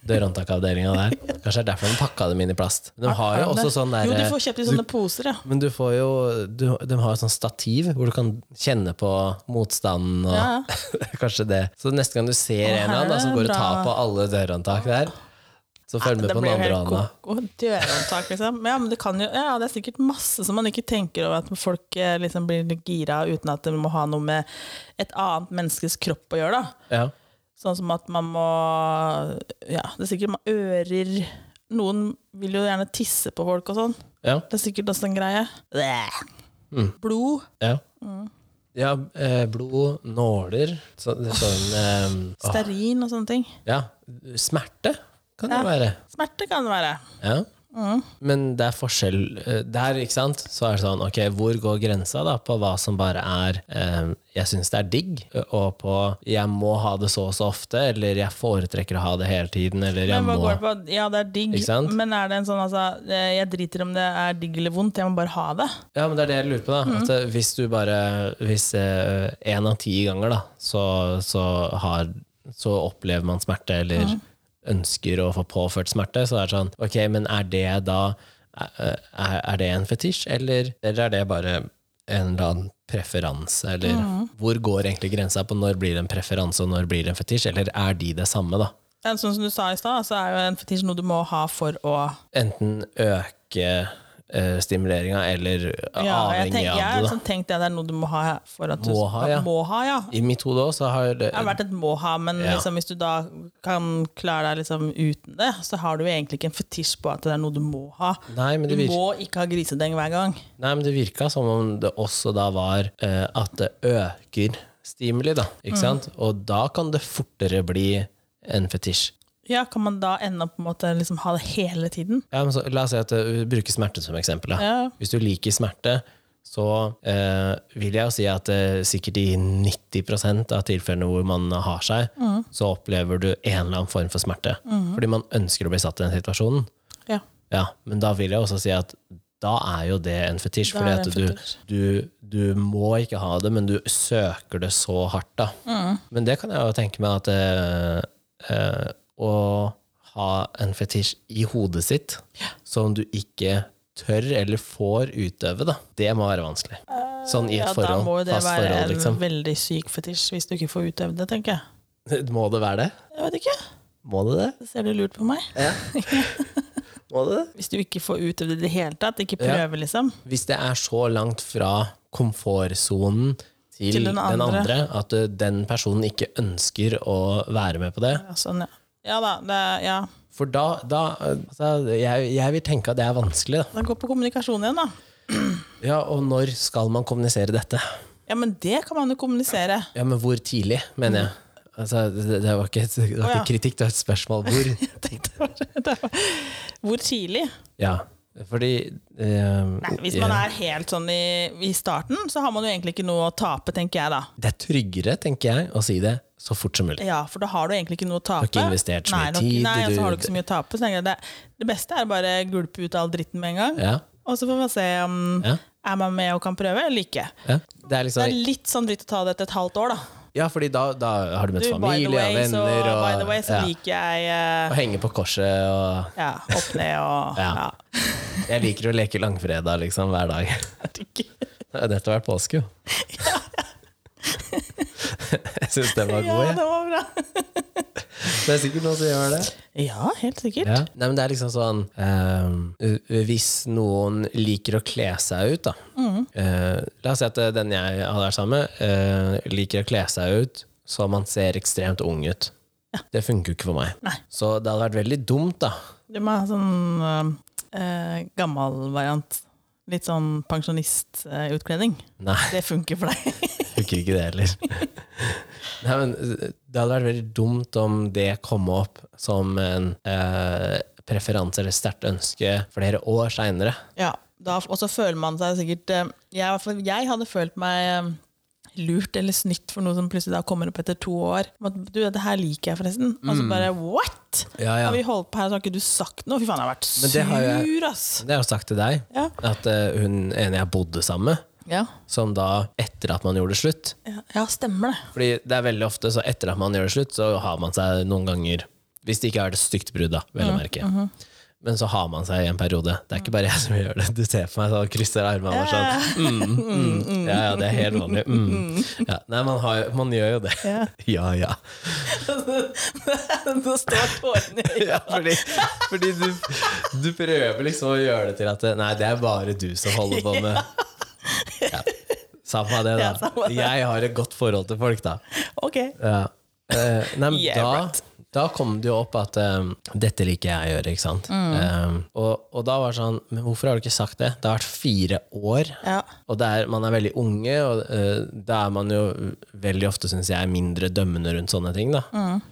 Speaker 1: dørhåndtakavdelinga der. Kanskje det er derfor de pakka dem inn i plast. Men de har jo
Speaker 2: Er det
Speaker 1: også
Speaker 2: det?
Speaker 1: sånn der,
Speaker 2: Jo, du får kjøpt i sånne poser, ja.
Speaker 1: Men du får jo du, De har jo sånn stativ hvor du kan kjenne på motstanden og
Speaker 2: Ja,
Speaker 1: Kanskje det. Så neste gang du ser
Speaker 2: Å,
Speaker 1: en eller annen da, som
Speaker 2: her er
Speaker 1: går og
Speaker 2: bra.
Speaker 1: tar på alle dørhåndtak der, så følg med
Speaker 2: Det
Speaker 1: på den
Speaker 2: blir jo
Speaker 1: andre
Speaker 2: helt
Speaker 1: hånda.
Speaker 2: koko. Dørhåndtak, liksom. Ja, men det kan jo Ja, det er sikkert masse som man ikke tenker over, at folk eh, liksom blir gira uten at det må ha noe med et annet menneskes kropp å gjøre, da.
Speaker 1: Ja.
Speaker 2: Sånn som at man må Ja, det er sikkert man ører Noen vil jo gjerne tisse på folk og sånn.
Speaker 1: Ja.
Speaker 2: Det er sikkert også en greie. Bleh.
Speaker 1: Mm.
Speaker 2: Blod.
Speaker 1: ja.
Speaker 2: Mm.
Speaker 1: ja eh, blod, nåler så, det er Sånn eh, åh,
Speaker 2: Stearin og sånne ting.
Speaker 1: Ja. Smerte kan det
Speaker 2: Ja. Mm.
Speaker 1: være.
Speaker 2: Smerte kan det være.
Speaker 1: Ja. Men det er forskjell eh, der, ikke sant? Så er det sånn, ok, hvor går grensa da på hva som bare er eh, Jeg syns det er digg, og på jeg må ha det så og så ofte, eller jeg foretrekker å ha det hele tiden, eller jeg
Speaker 2: Men hva
Speaker 1: må
Speaker 2: går det på? Ja, det er digg,
Speaker 1: Ikke sant?
Speaker 2: men er det en sånn altså eh, Jeg driter om det er digg eller vondt, jeg må bare ha det.
Speaker 1: Ja, men det er det jeg lurer på, da.
Speaker 2: Mhm.
Speaker 1: At eh, hvis du bare Hvis én av ti ganger, da, så, så har Så opplever man smerte, eller
Speaker 2: Mhm.
Speaker 1: ønsker å få påført smerte, så er det sånn Ok, men er det da Er, er det en fetisj, eller, eller er det bare en eller annen preferanse, eller
Speaker 2: Mhm.
Speaker 1: hvor går egentlig grensa på når blir det en preferanse, og når blir det en fetisj, eller er de det samme, da?
Speaker 2: Ja, sånn som du sa i stad, så er jo en fetisj noe du må ha for å
Speaker 1: Enten øke uh, stimuleringa, eller
Speaker 2: og jeg,
Speaker 1: avhengig
Speaker 2: tenker, jeg
Speaker 1: av
Speaker 2: har
Speaker 1: det, da.
Speaker 2: liksom tenkt det, det er noe du må ha for at du
Speaker 1: Må ha, ja.
Speaker 2: Må ha, ja.
Speaker 1: I mitt hode òg, så har det
Speaker 2: Det har vært et må ha, men
Speaker 1: Ja.
Speaker 2: liksom, hvis du da kan klare deg liksom uten det, så har du jo egentlig ikke en fetisj på at det er noe du må ha.
Speaker 1: Nei, men
Speaker 2: Du
Speaker 1: det, virka,
Speaker 2: må ikke ha grisedeng hver gang.
Speaker 1: nei, men det virka som om det også da var eh, at det øker stimuli, da.
Speaker 2: Mm.
Speaker 1: Ikke sant? Og da kan det fortere bli en fetisj.
Speaker 2: Ja, Kan man da ende opp med å liksom ha det hele tiden?
Speaker 1: Ja, men så, la oss si at uh, bruke smerte som eksempel. Da.
Speaker 2: Ja.
Speaker 1: Hvis du liker smerte, så eh, vil jeg jo si at eh, sikkert i 90 av tilfellene hvor man har seg,
Speaker 2: Mm.
Speaker 1: så opplever du en eller annen form for smerte. Fordi man ønsker å bli satt i den situasjonen.
Speaker 2: Ja.
Speaker 1: Ja, men da vil jeg også si at da er jo det en fetisj.
Speaker 2: Da
Speaker 1: Fordi
Speaker 2: er det
Speaker 1: at
Speaker 2: en
Speaker 1: du, du, du må ikke ha det, men du søker det så hardt, da.
Speaker 2: Mm.
Speaker 1: Men det kan jeg jo tenke meg at eh, eh, Å ha en fetisj i hodet sitt som du ikke tør eller får utøve, da, det må være vanskelig. Sånn i et
Speaker 2: Eh, ja, da
Speaker 1: forhold.
Speaker 2: må jo det
Speaker 1: fast
Speaker 2: være
Speaker 1: forhold, liksom.
Speaker 2: en veldig syk fetisj hvis du ikke får utøvd det, tenker jeg.
Speaker 1: Må det være det?
Speaker 2: Jeg vet ikke.
Speaker 1: Må det det?
Speaker 2: Det ser du lurt på meg.
Speaker 1: Må det det?
Speaker 2: Hvis du ikke får utøvd det i det hele tatt, ikke
Speaker 1: Ja.
Speaker 2: prøver, liksom.
Speaker 1: hvis det er så langt fra komfortsonen til, den, andre. at uh, den personen ikke ønsker å være med på det
Speaker 2: Ja, sånn, ja. Ja da. Det, ja.
Speaker 1: For da, da uh, altså, jeg, jeg vil tenke at det er vanskelig, da.
Speaker 2: Det går på kommunikasjon igjen, da.
Speaker 1: Ja, og når skal man kommunisere dette?
Speaker 2: Ja, men det kan man jo kommunisere.
Speaker 1: Ja, men hvor tidlig, mener jeg. Altså, det, det var ikke, et, det var
Speaker 2: Å, ja.
Speaker 1: ikke kritikk, det var et spørsmål. Hvor?
Speaker 2: Jeg tenkte bare- det var- Hvor tidlig?
Speaker 1: Ja, fordi eh,
Speaker 2: Nei, hvis man
Speaker 1: ja.
Speaker 2: er helt sånn i, i starten, så har man jo egentlig ikke noe å tape, tenker jeg da.
Speaker 1: Det er tryggere, tenker jeg, å si det så fort som mulig.
Speaker 2: Ja, for da har du egentlig ikke noe å tape.
Speaker 1: ikke investert så mye
Speaker 2: nei, nok-
Speaker 1: tid,
Speaker 2: Nei, og
Speaker 1: du-
Speaker 2: så har du ikke så mye å tape. Så tenker jeg det, det beste er bare å gulpe ut all dritten med en gang.
Speaker 1: Ja,
Speaker 2: Og så får man se om
Speaker 1: Ja.
Speaker 2: er man med og kan prøve eller ikke.
Speaker 1: ja. Det er
Speaker 2: Det
Speaker 1: liksom
Speaker 2: er litt sånn dritt å ta det etter et halvt år, da.
Speaker 1: Ja, fordi da, da har du møtt
Speaker 2: Du, by the
Speaker 1: familie og
Speaker 2: way, så,
Speaker 1: venner og
Speaker 2: by the way, så
Speaker 1: ja.
Speaker 2: liker jeg eh,
Speaker 1: Å henge på korset og
Speaker 2: ja, opp ned og ja.
Speaker 1: Ja. Jeg liker å leke langfredag liksom hver dag. Det har nettopp vært påske, jo. Jeg syns den var
Speaker 2: Ja,
Speaker 1: god, jeg.
Speaker 2: det var bra.
Speaker 1: Det er sikkert noen som gjør det.
Speaker 2: Ja, helt sikkert.
Speaker 1: Ja. Nei, men det er liksom sånn eh, Hvis noen liker å kle seg ut, da
Speaker 2: Mm.
Speaker 1: Eh, La oss si at eh, den jeg hadde vært sammen med, eh, liker å kle seg ut så man ser ekstremt ung ut. Det funker jo ikke for meg.
Speaker 2: Nei.
Speaker 1: Så det hadde vært veldig dumt, da.
Speaker 2: Du må ha sånn eh, eh, gammel variant. Litt sånn pensjonistutkledning.
Speaker 1: Nei.
Speaker 2: det funker for deg.
Speaker 1: Funker ikke det heller. Nei, men Det hadde vært veldig dumt om det kom opp som en eh, preferanse eller sterkt ønske flere år seinere.
Speaker 2: ja, da, Og så føler man seg sikkert eh, jeg, i hvert fall- jeg hadde følt meg eh, lurt eller snytt for noe som plutselig da kommer opp etter to år. Om at, Du, det her liker jeg forresten. Og så bare what?!
Speaker 1: Ja, Mm. ja.
Speaker 2: Har vi holdt på her, så har ikke du sagt noe? Fy faen, jeg har vært
Speaker 1: Men det har jeg-
Speaker 2: sur, ass!
Speaker 1: Det har jeg jo sagt til deg,
Speaker 2: Ja.
Speaker 1: at eh, hun ene jeg bodde sammen med,
Speaker 2: Ja.
Speaker 1: som da, etter at man gjorde det slutt
Speaker 2: ja, ja, stemmer det.
Speaker 1: Fordi det er veldig ofte så etter at man gjør det slutt, så har man seg noen ganger Hvis det ikke er et stygt brudd, da, vel å
Speaker 2: Mm,
Speaker 1: merke.
Speaker 2: mm-hmm.
Speaker 1: Men så har man seg i en periode. Det er ikke bare jeg som gjør det. Du ser på meg sånn, krysser armene og
Speaker 2: Eh.
Speaker 1: sånn. Mm, mm. Ja, ja, det er helt vanlig. Mm. Ja, nei, man, har, jo- man gjør jo det.
Speaker 2: Ja.
Speaker 1: Ja, ja.
Speaker 2: Nå står tårene i
Speaker 1: ja fordi fordi du, du prøver liksom å gjøre det til at det- Nei, det er bare du som holder på med ja. Samme det,
Speaker 2: Ja,
Speaker 1: da.
Speaker 2: samme det.
Speaker 1: Jeg har et godt forhold til folk, da.
Speaker 2: Ok.
Speaker 1: Ja. Eh, nei, men
Speaker 2: Yeah,
Speaker 1: da, da kom det jo opp at eh, dette liker jeg å gjøre, ikke sant.
Speaker 2: Mm.
Speaker 1: Eh, og, og da var det sånn, men hvorfor har du ikke sagt det? Det har vært fire år.
Speaker 2: Ja.
Speaker 1: Og det er- man er veldig unge, og eh, da er man jo veldig ofte, syns jeg, mindre dømmende rundt sånne ting. da.
Speaker 2: Mm.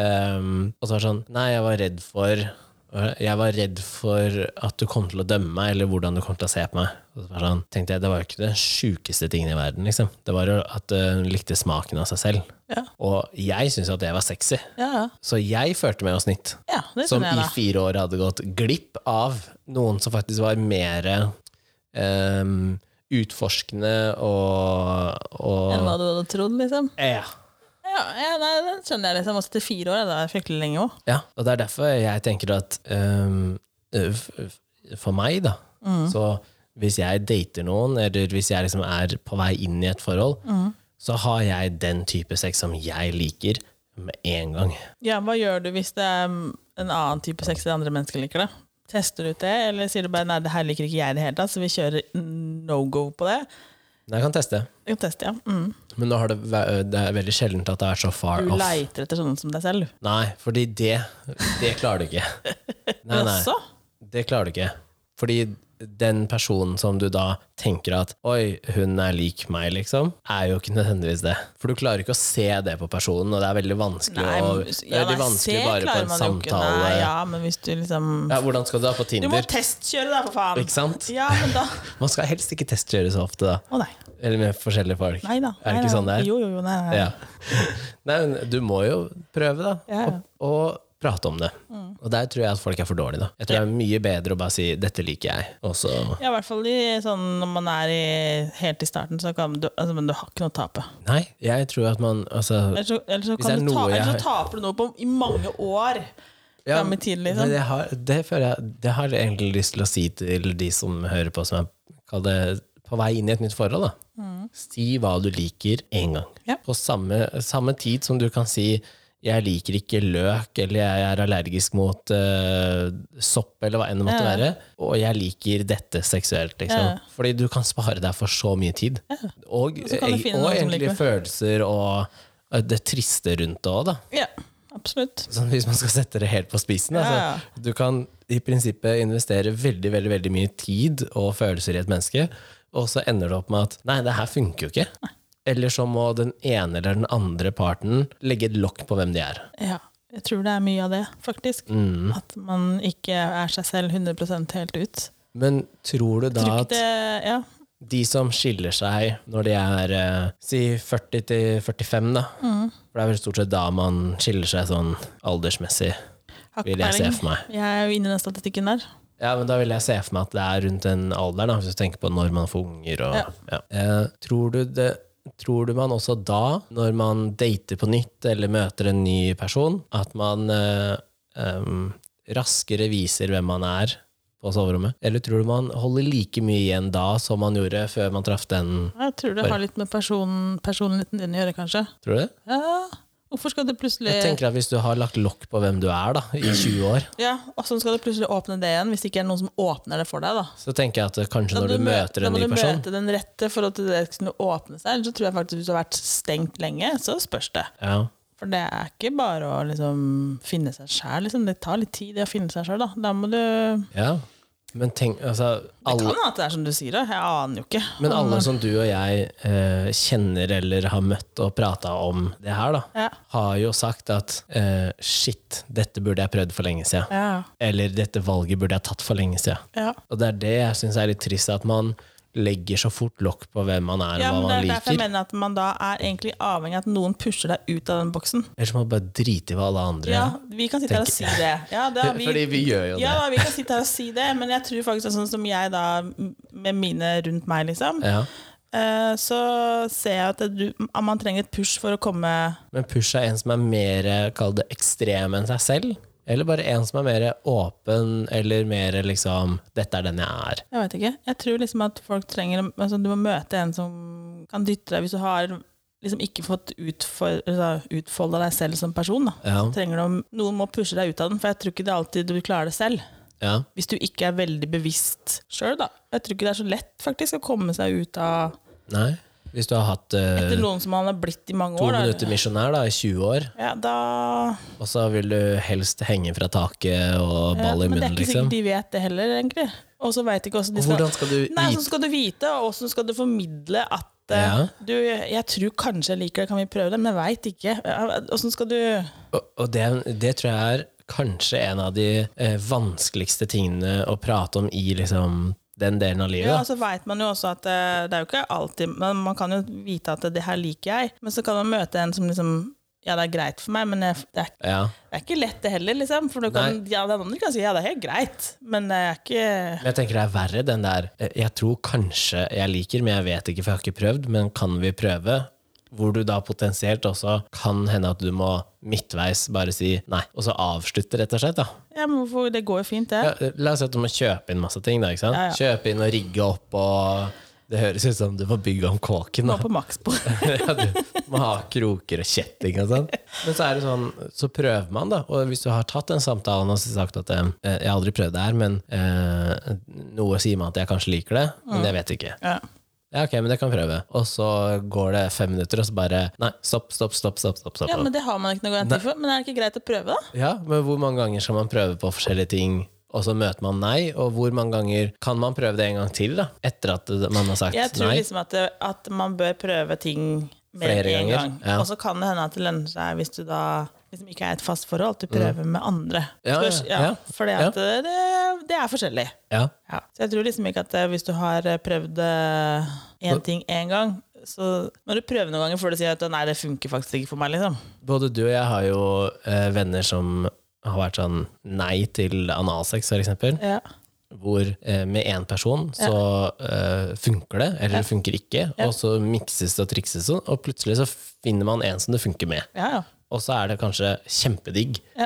Speaker 1: Eh, og så var det sånn Nei, jeg var redd for jeg var redd for at du kom til å dømme meg, eller hvordan du kom til å se på meg. Og så var det sånn, tenkte jeg, Det var jo ikke den sjukeste tingen i verden. liksom. Det var jo at eh, hun likte smaken av seg selv.
Speaker 2: Ja.
Speaker 1: Og jeg syntes jo at det var sexy.
Speaker 2: Ja, ja.
Speaker 1: Så jeg følte meg jo snitt.
Speaker 2: ja det
Speaker 1: Som
Speaker 2: skjønner jeg,
Speaker 1: i
Speaker 2: da.
Speaker 1: fire år hadde gått glipp av noen som faktisk var mer ehm, utforskende og,
Speaker 2: Enn
Speaker 1: og
Speaker 2: hva du hadde trodd, liksom.
Speaker 1: ja.
Speaker 2: Ja, ja nei, den skjønner jeg liksom. Også til fire år, ja, det er fryktelig lenge òg.
Speaker 1: ja. Og det er derfor jeg tenker at ehm, f- f- for meg, da,
Speaker 2: Mm.
Speaker 1: så hvis jeg dater noen, eller hvis jeg liksom er på vei inn i et forhold,
Speaker 2: Mm.
Speaker 1: så har jeg den type sex som jeg liker, med en gang.
Speaker 2: Ja, hva gjør du hvis det er mm, en annen type sex enn andre mennesker liker, da? Tester du ut det, eller sier du bare 'nei, det her liker ikke jeg i det hele tatt', så vi kjører no go på det?
Speaker 1: Men jeg kan teste.
Speaker 2: Jeg kan teste, ja. Mm.
Speaker 1: Men nå har det, væ- det er veldig sjeldent at det er så far
Speaker 2: Du
Speaker 1: off.
Speaker 2: leiter etter sånne som deg selv.
Speaker 1: Nei, fordi det, det klarer du ikke. Nei,
Speaker 2: Men
Speaker 1: nei,
Speaker 2: også?
Speaker 1: det klarer du ikke. Fordi den personen som du da tenker at oi, hun er lik meg, liksom, er jo ikke nødvendigvis det. For du klarer ikke å se det på personen, og det er veldig vanskelig,
Speaker 2: Nei,
Speaker 1: å,
Speaker 2: men-
Speaker 1: det
Speaker 2: ja,
Speaker 1: er veldig
Speaker 2: nei,
Speaker 1: vanskelig
Speaker 2: se
Speaker 1: bare på
Speaker 2: klarer
Speaker 1: en
Speaker 2: man jo ikke.
Speaker 1: samtale.
Speaker 2: Nei,
Speaker 1: ja.
Speaker 2: ja, men hvis du liksom
Speaker 1: hvordan skal du da på
Speaker 2: Du må
Speaker 1: Tinder?
Speaker 2: testkjøre, da, for faen!
Speaker 1: Ikke sant?
Speaker 2: Ja, men da
Speaker 1: Man skal helst ikke testkjøre så ofte, da.
Speaker 2: Å nei.
Speaker 1: Eller med forskjellige folk.
Speaker 2: Nei da.
Speaker 1: Er det
Speaker 2: Nei,
Speaker 1: ikke
Speaker 2: nei.
Speaker 1: sånn det er?
Speaker 2: Jo, jo, jo. Nei, nei.
Speaker 1: Ja. Mm. Nei, men du må jo prøve, da.
Speaker 2: Ja, ja.
Speaker 1: Og, og prate om det. Og der tror jeg at folk er for dårlige. da. Jeg tror det er mye bedre å bare si 'dette liker jeg', og så
Speaker 2: Ja, i hvert fall i, sånn, når man er i, helt i starten, så kan du, altså, men du har ikke noe å tape.
Speaker 1: Nei, jeg tror at man altså,
Speaker 2: Ellers så, ellers så,
Speaker 1: Hvis det
Speaker 2: kan
Speaker 1: er
Speaker 2: du ta,
Speaker 1: noe jeg-
Speaker 2: ellers så taper du noe på, i mange år
Speaker 1: Ja,
Speaker 2: fram i tid,
Speaker 1: men
Speaker 2: liksom.
Speaker 1: det, har, det føler jeg Det har jeg egentlig lyst til å si til de som hører på, som er kall det, på vei inn i et nytt forhold. da. Si hva du liker én gang.
Speaker 2: Mm. Ja.
Speaker 1: På samme, samme tid som du kan si 'jeg liker ikke løk', eller 'jeg er allergisk mot eh, sopp', eller hva enn det måtte
Speaker 2: Ja.
Speaker 1: være. Og 'jeg liker dette seksuelt'. Liksom.
Speaker 2: Ja.
Speaker 1: Fordi du kan spare deg for så mye tid. Og, eh,
Speaker 2: så kan du
Speaker 1: og,
Speaker 2: finne noen som
Speaker 1: egentlig
Speaker 2: liker det.
Speaker 1: følelser og eh, det triste rundt det òg, da.
Speaker 2: Ja, absolutt.
Speaker 1: Sånn, hvis man skal sette det helt på spissen.
Speaker 2: Ja,
Speaker 1: Altså, du kan i prinsippet investere veldig veldig, veldig mye tid og følelser i et menneske, og så ender det opp med at nei, det her funker jo ikke. Eller så må den ene eller den andre parten legge et lokk på hvem de er.
Speaker 2: Ja, jeg tror det er mye av det, faktisk.
Speaker 1: Mm.
Speaker 2: At man ikke er seg selv 100 helt ut.
Speaker 1: Men tror du da
Speaker 2: Tror ikke
Speaker 1: at
Speaker 2: det, ja.
Speaker 1: de som skiller seg når de er eh, si 40 til 45, da
Speaker 2: Mm.
Speaker 1: For det er vel stort sett da man skiller seg sånn aldersmessig,
Speaker 2: Har ikke
Speaker 1: vil jeg se
Speaker 2: peiling.
Speaker 1: for meg.
Speaker 2: Jeg er jo inne i den statistikken der.
Speaker 1: Ja, men Da vil jeg se for meg at det er rundt den alderen, da, hvis du tenker på når man får unger. Og,
Speaker 2: Ja.
Speaker 1: ja. Eh, tror, du det, tror du man også da, når man dater på nytt eller møter en ny person, at man eh, em, raskere viser hvem man er på soverommet? Eller tror du man holder like mye igjen da som man gjorde før man traff den?
Speaker 2: Jeg tror det
Speaker 1: Bare-
Speaker 2: har litt med personen, personligheten din å gjøre, kanskje.
Speaker 1: Tror du det?
Speaker 2: Ja, hvorfor skal det plutselig
Speaker 1: Jeg tenker at Hvis du har lagt lokk på hvem du er da, i 20 år,
Speaker 2: Ja, og sånn skal det plutselig åpne det igjen, hvis det ikke er noen som åpner det for deg, da.
Speaker 1: så tenker jeg at kanskje
Speaker 2: Da
Speaker 1: når
Speaker 2: må
Speaker 1: du
Speaker 2: mø-
Speaker 1: møter en
Speaker 2: da må
Speaker 1: ny
Speaker 2: du
Speaker 1: person
Speaker 2: møte den rette for at det skal kunne åpne seg. Ellers så tror jeg faktisk hvis du har vært stengt lenge, så spørs det.
Speaker 1: ja.
Speaker 2: For det er ikke bare å liksom finne seg sjæl, liksom. Det tar litt tid det å finne seg sjøl, da. Da må du Det
Speaker 1: ja. Men tenk, altså, alle,
Speaker 2: kan at det er som du sier, da. Jeg aner jo ikke.
Speaker 1: Men
Speaker 2: Om-
Speaker 1: alle som du og jeg eh, kjenner eller har møtt og prata om det her, da,
Speaker 2: Ja.
Speaker 1: har jo sagt at eh, shit, dette burde jeg prøvd for lenge siden.
Speaker 2: Ja.
Speaker 1: Eller dette valget burde jeg tatt for lenge siden.
Speaker 2: ja.
Speaker 1: Og det er det jeg syns er litt trist, at man legger så fort lokk på hvem man er og
Speaker 2: Ja, men
Speaker 1: hva
Speaker 2: Det
Speaker 1: man
Speaker 2: er derfor jeg
Speaker 1: liker.
Speaker 2: mener at man da er egentlig avhengig av at noen pusher deg ut av den boksen.
Speaker 1: Ellers må man bare drite i hva alle andre
Speaker 2: Ja, vi kan sitte her og
Speaker 1: tenker-
Speaker 2: si det. Ja, det har vi,
Speaker 1: Fordi vi gjør jo det.
Speaker 2: Ja, da, vi kan sitte her og si det, men jeg tror faktisk at sånn som jeg da, med mine rundt meg, liksom,
Speaker 1: Ja.
Speaker 2: eh, så ser jeg at, du, at man trenger et push for å komme
Speaker 1: Men push er en som er mer eh, kall det ekstrem enn seg selv? Eller bare en som er mer åpen, eller mer liksom 'dette er den jeg er'?
Speaker 2: Jeg vet ikke. Jeg tror liksom at folk trenger altså, Du må møte en som kan dytte deg hvis du har liksom ikke fått utfor, altså, utfolda deg selv som person. Da.
Speaker 1: Ja.
Speaker 2: Trenger du, noen må pushe deg ut av den, for jeg tror ikke det er alltid du klarer det selv.
Speaker 1: ja.
Speaker 2: Hvis du ikke er veldig bevisst sjøl, da. Jeg tror ikke det er så lett faktisk å komme seg ut av
Speaker 1: Nei. Hvis du har hatt eh,
Speaker 2: Etter noen som han har blitt i mange
Speaker 1: to
Speaker 2: år.
Speaker 1: minutter misjonær da, i 20 år,
Speaker 2: Da. Ja, da
Speaker 1: og så vil du helst henge fra taket og
Speaker 2: ja,
Speaker 1: ball i
Speaker 2: Eh, Men det er
Speaker 1: munnen,
Speaker 2: ikke
Speaker 1: liksom.
Speaker 2: sikkert de vet det heller, egentlig. Og så veit ikke åssen de
Speaker 1: Og
Speaker 2: skal
Speaker 1: hvordan skal du vite
Speaker 2: Nei, Åssen skal du vite, og åssen skal du formidle at eh,
Speaker 1: Ja.
Speaker 2: du, jeg tror kanskje jeg liker det, kan vi prøve det? Men jeg veit ikke. Åssen skal du
Speaker 1: Og, og det, det tror jeg er kanskje en av de eh, vanskeligste tingene å prate om i liksom, den delen av livet.
Speaker 2: Ja, altså-
Speaker 1: da.
Speaker 2: så vet man jo også at eh, det er jo ikke alltid Men man kan jo vite at det her liker jeg, men så kan man møte en som liksom Ja, det er greit for meg, men jeg, det er
Speaker 1: Ja.
Speaker 2: Det er ikke lett det heller, liksom. For du kan, ja, den andre kan si ja, det er helt greit, men det er ikke
Speaker 1: Men jeg tenker det er verre den der eh, Jeg tror kanskje jeg liker, men jeg vet ikke, for jeg har ikke prøvd. Men kan vi prøve? Hvor du da potensielt også kan hende at du må midtveis bare si nei, og så avslutte, rett og slett. da.
Speaker 2: Ja, men hvorfor, det går jo fint, det.
Speaker 1: Ja, la oss si at du må kjøpe inn masse ting. da, ikke sant?
Speaker 2: Ja, ja.
Speaker 1: Kjøpe inn og rigge opp og Det høres ut som du må bygge om kåken.
Speaker 2: Nå
Speaker 1: da.
Speaker 2: på makspor.
Speaker 1: ja, du må ha kroker og kjetting og sånn. Men så er det sånn, så prøver man, da. Og hvis du har tatt den samtalen og så sagt at eh, jeg har aldri prøvd det her, men eh, noe sier meg at jeg kanskje liker det,
Speaker 2: Mm.
Speaker 1: men jeg vet ikke.
Speaker 2: Ja.
Speaker 1: Ja, ok, men det kan vi prøve. Og så går det fem minutter, og så bare Nei, stopp, stopp, stopp. stopp, stopp, stopp.
Speaker 2: ja, men det har man ikke noe garanti for. Men er det ikke greit å prøve, da?
Speaker 1: Ja, men hvor mange ganger skal man prøve på forskjellige ting, og så møter man nei? Og hvor mange ganger kan man prøve det en gang til, da? Etter at man har sagt
Speaker 2: Jeg tror
Speaker 1: nei?
Speaker 2: liksom at, det, at man bør prøve ting mer
Speaker 1: Flere
Speaker 2: enn én
Speaker 1: ganger,
Speaker 2: gang.
Speaker 1: ja.
Speaker 2: Og så kan det hende at det lønner seg hvis du da liksom ikke er i et fast forhold, at du prøver med andre.
Speaker 1: Mm. Ja, ja, ja.
Speaker 2: For det, det, det er forskjellig.
Speaker 1: Ja.
Speaker 2: Ja. Så jeg tror liksom ikke at eh, hvis du har eh, prøvd eh, én ting én gang, så må du prøve noen ganger før du sier at nei, det funker faktisk ikke for meg, liksom.
Speaker 1: Både du og jeg har jo eh, venner som har vært sånn nei til analsex, for eksempel,
Speaker 2: Ja.
Speaker 1: hvor eh, med én person så eh, funker det, eller det funker ikke, og så mikses det og trikses det, og plutselig så finner man en som det funker med.
Speaker 2: Ja, ja.
Speaker 1: Og så er det kanskje kjempedigg,
Speaker 2: ja.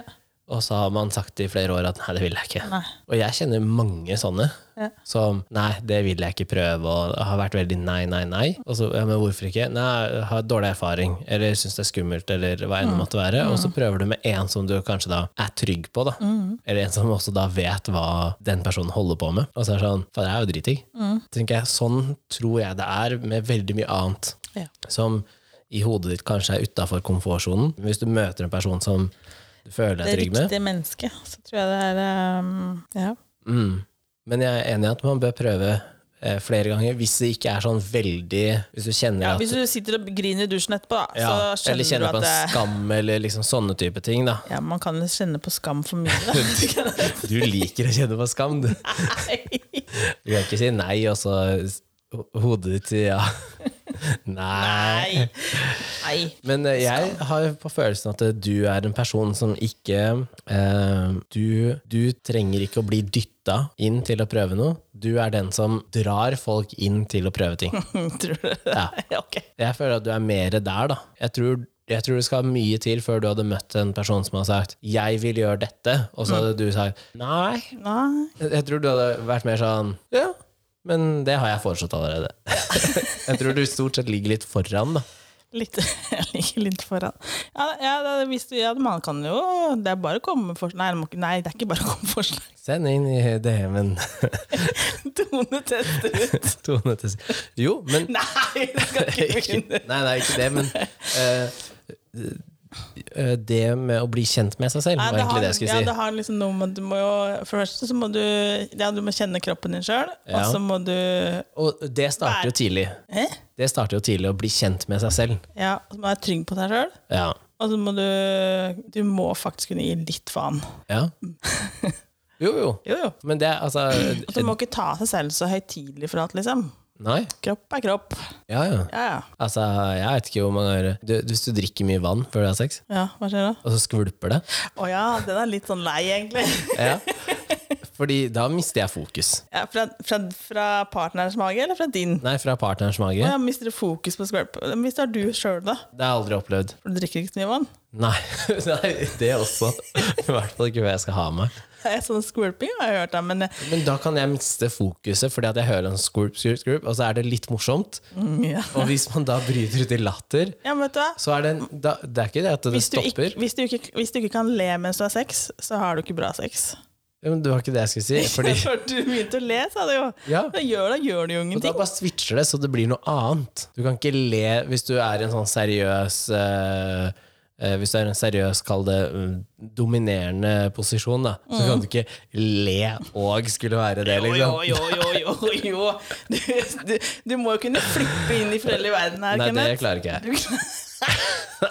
Speaker 1: og så har man sagt i flere år at nei, det vil jeg ikke.
Speaker 2: Nei.
Speaker 1: Og jeg kjenner mange sånne.
Speaker 2: Ja.
Speaker 1: Som nei, det vil jeg ikke prøve, og har vært veldig nei, nei, nei. Og så ja, men hvorfor ikke? Nei, jeg har dårlig erfaring, eller syns det er skummelt, eller hva
Speaker 2: Mm.
Speaker 1: enn det måtte være. Og så prøver du med en som du kanskje da er trygg på, da.
Speaker 2: Mm.
Speaker 1: Eller en som også da vet hva den personen holder på med. Og så er det sånn, faen, det er jo dritdigg.
Speaker 2: Mm.
Speaker 1: Tenker jeg, Sånn tror jeg det er med veldig mye annet
Speaker 2: Ja.
Speaker 1: som i hodet ditt kanskje er utafor komfortsonen. Hvis du møter en person som du føler
Speaker 2: Det
Speaker 1: deg trygg med,
Speaker 2: riktige mennesket, så tror jeg det er um, Ja.
Speaker 1: Mm. Men jeg er enig i at man bør prøve eh, flere ganger, hvis det ikke er sånn veldig Hvis du kjenner at
Speaker 2: Hvis du sitter og griner i dusjen etterpå, da,
Speaker 1: ja,
Speaker 2: så
Speaker 1: Eller kjenner
Speaker 2: skjønner du
Speaker 1: på
Speaker 2: at
Speaker 1: en
Speaker 2: det
Speaker 1: skam, eller liksom sånne type ting, da.
Speaker 2: ja, Man kan jo kjenne på skam for mye. da.
Speaker 1: Du liker å kjenne på skam, du. Du kan ikke si nei, og så s- ho- hodet ditt sier ja. Nei.
Speaker 2: Nei. Nei.
Speaker 1: Men eh, jeg har jo på følelsen at eh, du er en person som ikke eh, du, du trenger ikke å bli dytta inn til å prøve noe. Du er den som drar folk inn til å prøve ting.
Speaker 2: Tror du det?
Speaker 1: Ja.
Speaker 2: Ok.
Speaker 1: Jeg føler at du er mer der, da. Jeg tror, jeg tror det skal mye til før du hadde møtt en person som har sagt 'jeg vil gjøre dette', og så hadde du sagt 'nei'.
Speaker 2: Mm. Nei.
Speaker 1: Jeg tror du hadde vært mer sånn 'ja, men det har jeg foreslått allerede'. jeg tror du stort sett ligger litt foran, da.
Speaker 2: Litt, jeg ligger litt foran. Ja, ja, det, hvis du, ja, man kan jo Det er bare å komme med forslag. Nei, det må ikke- nei, det er ikke bare å komme med forslag.
Speaker 1: Send inn i DM-en.
Speaker 2: Tone tester ut.
Speaker 1: Tone til s- Jo, men
Speaker 2: Nei, det skal ikke begynne.
Speaker 1: ikke, Nei, nei, ikke det, men eh, eh, Det med å bli kjent med seg selv,
Speaker 2: Nei,
Speaker 1: var egentlig det jeg skulle
Speaker 2: ja,
Speaker 1: si.
Speaker 2: det har liksom noe med at du må jo Først så må du Ja, du må kjenne kroppen din sjøl,
Speaker 1: Ja.
Speaker 2: og så må du
Speaker 1: Og det starter jo tidlig.
Speaker 2: Hæ?
Speaker 1: Det starter jo tidlig å bli kjent med seg selv.
Speaker 2: Ja, og så må du være trygg på deg sjøl,
Speaker 1: Ja.
Speaker 2: og så Altså, må du Du må faktisk kunne gi litt faen.
Speaker 1: ja. Jo, jo.
Speaker 2: Jo, jo.
Speaker 1: Men det er altså
Speaker 2: Og du må ikke ta seg selv så høytidelig for alt, liksom.
Speaker 1: Nei.
Speaker 2: Kropp er kropp.
Speaker 1: Ja, ja.
Speaker 2: Ja, ja.
Speaker 1: Altså, jeg vet ikke hvor mange ganger du, Hvis du drikker mye vann før du har sex,
Speaker 2: Ja, Hva skjer da?
Speaker 1: og så skvulper det
Speaker 2: Å ja, den er litt sånn lei, egentlig.
Speaker 1: ja. Fordi da mister jeg fokus.
Speaker 2: Ja, fra, fra, fra partnerens mage, eller fra din?
Speaker 1: Nei, fra partnerens mage.
Speaker 2: Å ja, mister du fokus på skvulp? Hvis det er du sjøl, da?
Speaker 1: Det har jeg aldri opplevd.
Speaker 2: For du drikker ikke så mye vann?
Speaker 1: Nei, Nei det også. I hvert fall ikke hva jeg skal ha med.
Speaker 2: Nei, Sånn skvulping har jeg hørt, da, men eh,
Speaker 1: Men da kan jeg miste fokuset, fordi at jeg hører en skvulp, skvulp, skvulp, og så er det litt morsomt.
Speaker 2: mm, ja.
Speaker 1: Og hvis man da bryter ut i latter,
Speaker 2: ja, men vet du hva?
Speaker 1: så er det en, da, Det er ikke det at det
Speaker 2: Hvis du, ikke,
Speaker 1: stopper.
Speaker 2: hvis, du ikke, hvis du ikke kan le mens du har sex, så har du ikke bra sex.
Speaker 1: Ja, men det var ikke det jeg skulle si. Fordi,
Speaker 2: Før du begynte å le, sa du jo.
Speaker 1: ja,
Speaker 2: Da gjør, da gjør du jo
Speaker 1: og da
Speaker 2: ingenting.
Speaker 1: bare switcher det, så det blir noe annet. Du kan ikke le hvis du er en sånn seriøs eh, eh, Hvis du er en seriøs, kall det mm, dominerende posisjon, da, så kan du ikke le og skulle være det,
Speaker 2: Jo, jo,
Speaker 1: liksom.
Speaker 2: jo, jo, jo, jo. Du, du, du må jo kunne flippe inn i foreldre i verden her,
Speaker 1: Nei, det
Speaker 2: Kenneth.
Speaker 1: klarer ikke jeg.
Speaker 2: Du-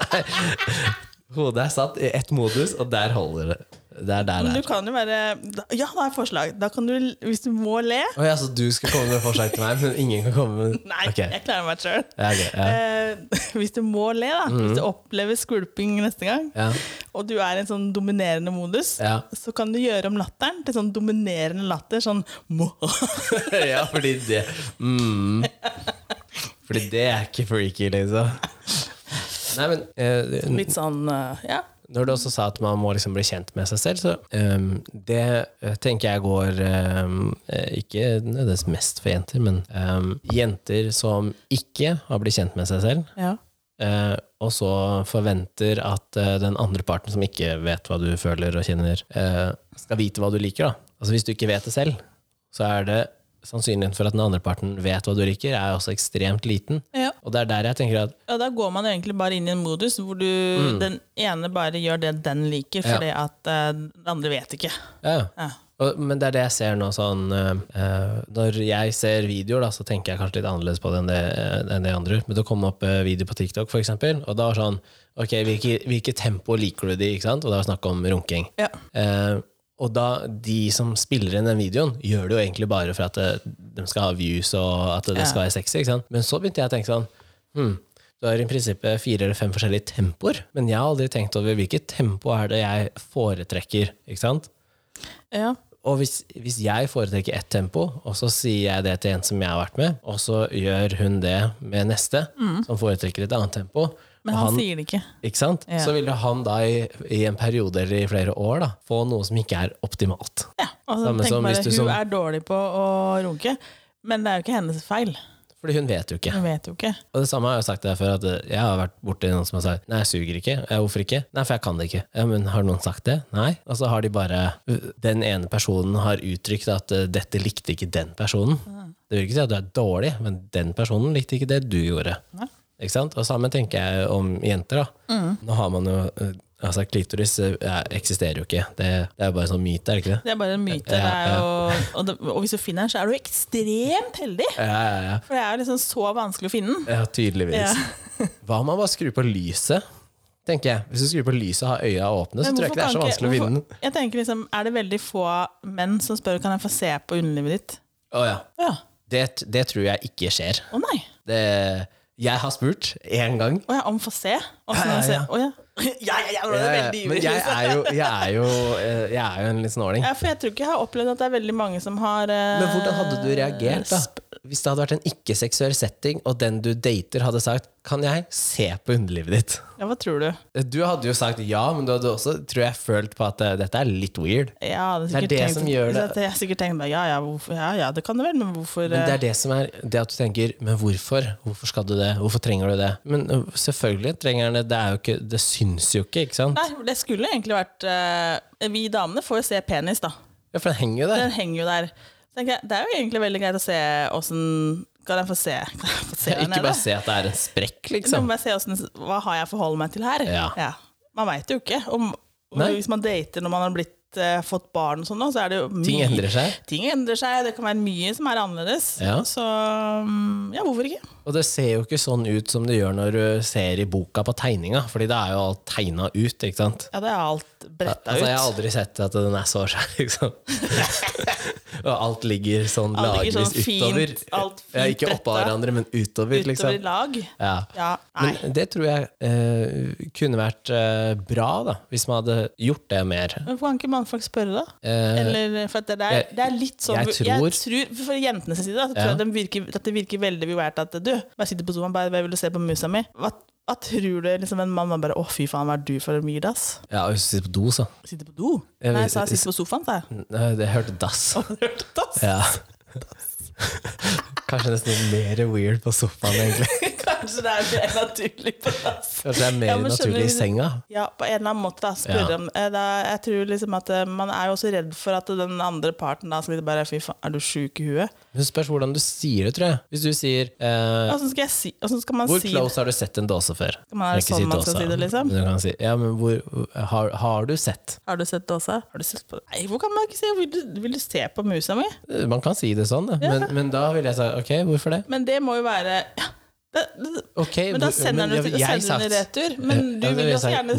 Speaker 1: Hodet er satt i ett modus, og der holder det. Det er der det
Speaker 2: Du
Speaker 1: er.
Speaker 2: kan jo være Ja, da er et forslag. Da kan du, hvis du må le
Speaker 1: Å ja, så altså, du skal komme med forslag til meg, men ingen kan komme med
Speaker 2: Nei,
Speaker 1: Ok.
Speaker 2: jeg klarer meg sjøl.
Speaker 1: Ja, ok, ja. Mhm.
Speaker 2: Eh, hvis du må le, da. Hvis du opplever skvulping neste gang,
Speaker 1: Ja.
Speaker 2: og du er i en sånn dominerende modus,
Speaker 1: Ja.
Speaker 2: så kan du gjøre om latteren til sånn dominerende latter. Sånn må.
Speaker 1: ja, fordi det mm. Fordi det er ikke freaky, liksom. Nei, men eh, n-
Speaker 2: Litt sånn eh, Ja.
Speaker 1: når du også sa at man må liksom bli kjent med seg selv, så ehm, det eh, tenker jeg går ehm, eh, Ikke nødvendigvis mest for jenter, men ehm, jenter som ikke har blitt kjent med seg selv,
Speaker 2: ja.
Speaker 1: eh, og så forventer at eh, den andre parten, som ikke vet hva du føler og kjenner, eh, skal vite hva du liker. Da. Altså Hvis du ikke vet det selv, så er det sannsynligheten for at den andre parten vet hva du liker, er også ekstremt liten.
Speaker 2: ja.
Speaker 1: Og det er der jeg tenker at
Speaker 2: Ja, Da går man egentlig bare inn i en modus hvor du, den ene bare gjør det den liker,
Speaker 1: Mm. Ja.
Speaker 2: fordi at eh, den andre vet ikke.
Speaker 1: ja,
Speaker 2: Ja.
Speaker 1: Og, men det er det jeg ser nå sånn eh, eh, Når jeg ser videoer, da, så tenker jeg kanskje litt annerledes på det enn det, eh, enn det andre. Men det kom opp eh, video på TikTok, for eksempel, og da var sånn Ok, hvilket hvilke tempo liker du de? Ikke sant? Og da var det snakk om runking.
Speaker 2: Ja.
Speaker 1: Eh, og da de som spiller inn den videoen, gjør det jo egentlig bare for at eh, de skal ha views og at det skal være sexy. Ikke sant? Men så begynte jeg å tenke sånn hm, Du Du har i prinsippet fire eller fem forskjellige tempoer, men jeg har aldri tenkt over hvilket tempo er det jeg foretrekker. ikke sant?
Speaker 2: Ja.
Speaker 1: Og hvis, hvis jeg foretrekker ett tempo, og så sier jeg det til en som jeg har vært med, og så gjør hun det med neste, som foretrekker et annet tempo,
Speaker 2: Mm. Men
Speaker 1: og
Speaker 2: han, sier det ikke.
Speaker 1: ikke sant?
Speaker 2: Ja.
Speaker 1: så vil jo han da i, i en periode eller i flere år da, få noe som ikke er optimalt.
Speaker 2: Ja, altså,
Speaker 1: Samme
Speaker 2: tenk
Speaker 1: som
Speaker 2: bare,
Speaker 1: hvis du
Speaker 2: Hun
Speaker 1: som-
Speaker 2: er dårlig på å runke, men det er jo ikke hennes feil.
Speaker 1: Fordi hun vet jo ikke.
Speaker 2: Hun vet jo ikke.
Speaker 1: Og det samme har jeg jo sagt der før, at eh, jeg har vært borti noen som har sagt nei, jeg suger ikke. Ja, hvorfor ikke? Nei, for jeg kan det ikke. Ja, men har noen sagt det? Nei. Og så har de bare Den ene personen har uttrykt at eh, dette likte ikke den personen. Det vil ikke si at du er dårlig, men den personen likte ikke det du gjorde.
Speaker 2: Nei.
Speaker 1: Ikke sant? Og samme tenker jeg om jenter, da. Nå har man jo eh, Altså, klitoris eh, eksisterer jo ikke. Det, det er jo bare en sånn myte, er det ikke det?
Speaker 2: Det er bare en myte.
Speaker 1: Ja,
Speaker 2: Det er jo, og, det, og hvis du finner den, så er du ekstremt heldig!
Speaker 1: Ja, ja, ja.
Speaker 2: For det er jo liksom så vanskelig å finne den.
Speaker 1: Ja, tydeligvis. Hva om man bare skrur på lyset? Tenker jeg. Hvis du skrur på lyset og har øya åpne, så
Speaker 2: Men
Speaker 1: tror jeg
Speaker 2: hvorfor
Speaker 1: ikke det er så
Speaker 2: kan
Speaker 1: vanskelig å
Speaker 2: hvorfor-
Speaker 1: vinne den.
Speaker 2: Jeg tenker liksom, Er det veldig få menn som spør kan jeg få se på underlivet ditt?
Speaker 1: Å ja.
Speaker 2: Å Ja.
Speaker 1: det, det tror jeg ikke skjer.
Speaker 2: Å nei.
Speaker 1: Det, jeg har spurt én gang.
Speaker 2: Å ja, om få se? Å
Speaker 1: Ja, ja,
Speaker 2: se.
Speaker 1: ja.
Speaker 2: Å ja. ja, ja, ja, nå er det
Speaker 1: Eh,
Speaker 2: veldig
Speaker 1: Men
Speaker 2: ivrig.
Speaker 1: jeg er jo, jeg er jo, eh, jeg er jo en litt snåling.
Speaker 2: Ja, for jeg tror ikke jeg har opplevd at det er veldig mange som har eh,
Speaker 1: Men hvordan hadde du reagert da? hvis det hadde vært en ikke-seksuell setting, og den du dater, hadde sagt 'Kan jeg se på underlivet ditt'?
Speaker 2: Ja, hva tror du?
Speaker 1: Du hadde jo sagt ja, men du hadde også tror jeg, følt på at eh, dette er litt weird.
Speaker 2: Ja, det,
Speaker 1: Det er det som gjør det.
Speaker 2: Jeg har sikkert tenkt bare, ja, ja, hvorfor, ja, ja, det kan det vel, men hvorfor eh?»
Speaker 1: Men det er det som er det at du tenker Men hvorfor? Hvorfor skal du det? Hvorfor trenger du det? Men ø, selvfølgelig trenger han det. Det, er jo ikke, det syns jo ikke, ikke sant?
Speaker 2: Nei, det skulle egentlig vært eh, Vi damene får jo se penis, da.
Speaker 1: Ja, for den henger jo der.
Speaker 2: Den henger jo der. Så tenker jeg, det er jo egentlig veldig greit å se åssen Kan jeg få se? Kan jeg få se den,
Speaker 1: Ikke
Speaker 2: eller?
Speaker 1: bare se at det er en sprekk,
Speaker 2: Så må
Speaker 1: liksom.
Speaker 2: jeg se hvordan, hva har jeg å forholde meg til her.
Speaker 1: Ja.
Speaker 2: Man veit jo ikke. Om,
Speaker 1: Nei.
Speaker 2: hvis man dater når man har blitt, eh, fått barn, og sånn, nå, så er det jo mye,
Speaker 1: Ting endrer seg.
Speaker 2: ting endrer seg. Det kan være mye som er annerledes.
Speaker 1: Ja.
Speaker 2: Så mm, ja, hvorfor ikke?
Speaker 1: Og det ser jo ikke sånn ut som det gjør når du ser i boka på tegninga, Fordi da er jo alt tegna ut, ikke sant?
Speaker 2: Ja, det er alt bretta
Speaker 1: Altså, jeg har
Speaker 2: ut.
Speaker 1: aldri sett at den er så skjær, liksom. Og alt ligger sånn
Speaker 2: Alt ligger
Speaker 1: lagvis
Speaker 2: sånn fint,
Speaker 1: utover.
Speaker 2: alt fint
Speaker 1: ja, ikke oppå
Speaker 2: bretta.
Speaker 1: hverandre, men utover,
Speaker 2: Utover i
Speaker 1: liksom.
Speaker 2: lag.
Speaker 1: Ja.
Speaker 2: Ja, nei.
Speaker 1: Men det tror jeg eh, kunne vært eh, bra, da, hvis man hadde gjort det mer.
Speaker 2: Men Hvorfor kan ikke mannfolk spørre, da?
Speaker 1: Eh,
Speaker 2: Eller, for at det, er,
Speaker 1: jeg-
Speaker 2: det er litt sånn
Speaker 1: jeg tror-
Speaker 2: For jentenes side da, så tror
Speaker 1: Ja.
Speaker 2: jeg det virker, at det virker veldig bevært at du bare sitter på sofaen bare bare vil du se på musa mi. Hva, hva tror du liksom, en mann man bare Å, fy faen, hva er du for en myr, ass?
Speaker 1: ja, hvis du sitter på do, så.
Speaker 2: Sitter på do?
Speaker 1: Jeg
Speaker 2: Nei,
Speaker 1: vet-
Speaker 2: jeg sa jeg sitter på sofaen, sa jeg.
Speaker 1: Nei, Det hørte dass.
Speaker 2: Hørte du, ass?
Speaker 1: Ja. Kanskje nesten mer weird på sofaen, egentlig.
Speaker 2: Kanskje det er mer naturlig på dass.
Speaker 1: Kanskje det er mer
Speaker 2: Ja, men skjønner
Speaker 1: naturlig i
Speaker 2: du-
Speaker 1: senga.
Speaker 2: Ja, på en eller annen måte, da. Spørre
Speaker 1: Ja.
Speaker 2: om eh, da, Jeg tror liksom at eh, man er jo også redd for at den andre parten da skal bare Fy faen, er du sjuk i huet?
Speaker 1: Men det spørs hvordan du sier det, tror jeg. Hvis du sier eh,
Speaker 2: Åssen skal, jeg si, hvordan skal man
Speaker 1: Hvor
Speaker 2: si
Speaker 1: close har du sett en dåse før?
Speaker 2: Skal man- er det
Speaker 1: Jeg kan
Speaker 2: sånn man skal
Speaker 1: dåsa,
Speaker 2: si det, liksom?
Speaker 1: Men du kan si, ja, men hvor, har, har du sett?
Speaker 2: Har du sett Åsa? Har du sett på Nei, hvor kan man ikke se? Vil du, vil du se på musa mi?
Speaker 1: Man kan si det sånn, da. Men, men da vil jeg si ok, hvorfor det?
Speaker 2: Men det må jo være ja, det, det,
Speaker 1: Ok,
Speaker 2: Men da
Speaker 1: hvor-
Speaker 2: sender
Speaker 1: men
Speaker 2: han
Speaker 1: jeg- jeg
Speaker 2: den i
Speaker 1: satt-
Speaker 2: retur. Men du
Speaker 1: Ja, det
Speaker 2: vil
Speaker 1: vil
Speaker 2: jo
Speaker 1: jeg
Speaker 2: også
Speaker 1: si.
Speaker 2: gjerne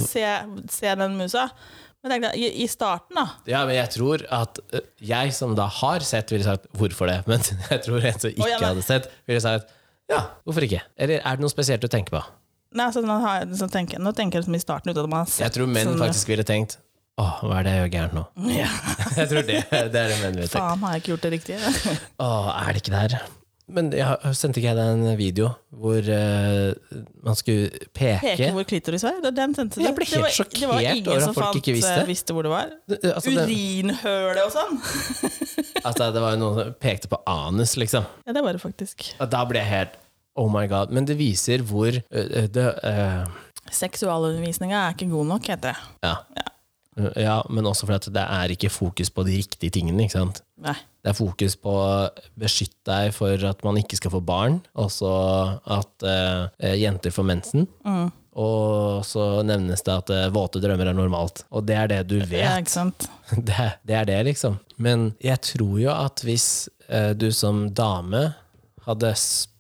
Speaker 2: se, se den musa. Men tenk deg, i, i starten, da.
Speaker 1: Ja, men jeg tror at ø, jeg som da har sett, ville sagt 'hvorfor det?' Men jeg tror en som ikke
Speaker 2: Å, ja, nei.
Speaker 1: hadde sett, ville sagt 'ja, hvorfor ikke?' Eller er det noe spesielt du tenker på?
Speaker 2: Nei, så nå, har, jeg- så tenker, jeg- nå tenker jeg liksom i starten ut at man har sett
Speaker 1: Jeg tror menn
Speaker 2: sånn-
Speaker 1: faktisk ville tenkt 'å, hva er det jeg gjør gærent nå?'
Speaker 2: ja,
Speaker 1: Jeg tror det, det er det menn ville tenkt.
Speaker 2: Faen, har jeg ikke gjort det riktige?
Speaker 1: 'Å, er det ikke der?' Men jeg har- sendte ikke jeg deg en video hvor ø, man skulle
Speaker 2: Peke
Speaker 1: peke?
Speaker 2: hvor klitoris var? Det- Den sendte du.
Speaker 1: Jeg ble helt
Speaker 2: Det var- Det var
Speaker 1: sjokkert
Speaker 2: ingen
Speaker 1: over at
Speaker 2: som
Speaker 1: folk
Speaker 2: fant,
Speaker 1: ikke visste.
Speaker 2: eh, visste hvor det var.
Speaker 1: Altså, det,
Speaker 2: Urinhølet og sånn.
Speaker 1: altså, det var jo noen som pekte på anus, liksom.
Speaker 2: Ja, det var det faktisk.
Speaker 1: Og da ble jeg helt Oh my god. Men det viser hvor ø, ø, det, ø,
Speaker 2: Seksualundervisninga er ikke god nok, heter det.
Speaker 1: Ja. ja, men også fordi at det er ikke fokus på de riktige tingene. ikke sant?
Speaker 2: Nei.
Speaker 1: Det er fokus på å beskytte deg for at man ikke skal få barn, også at eh, jenter får mensen. Og så nevnes det at eh, våte drømmer er normalt. Og det er det du vet.
Speaker 2: Ja, ikke sant?
Speaker 1: Det, det er det, liksom. Men jeg tror jo at hvis eh, du som dame hadde spurt,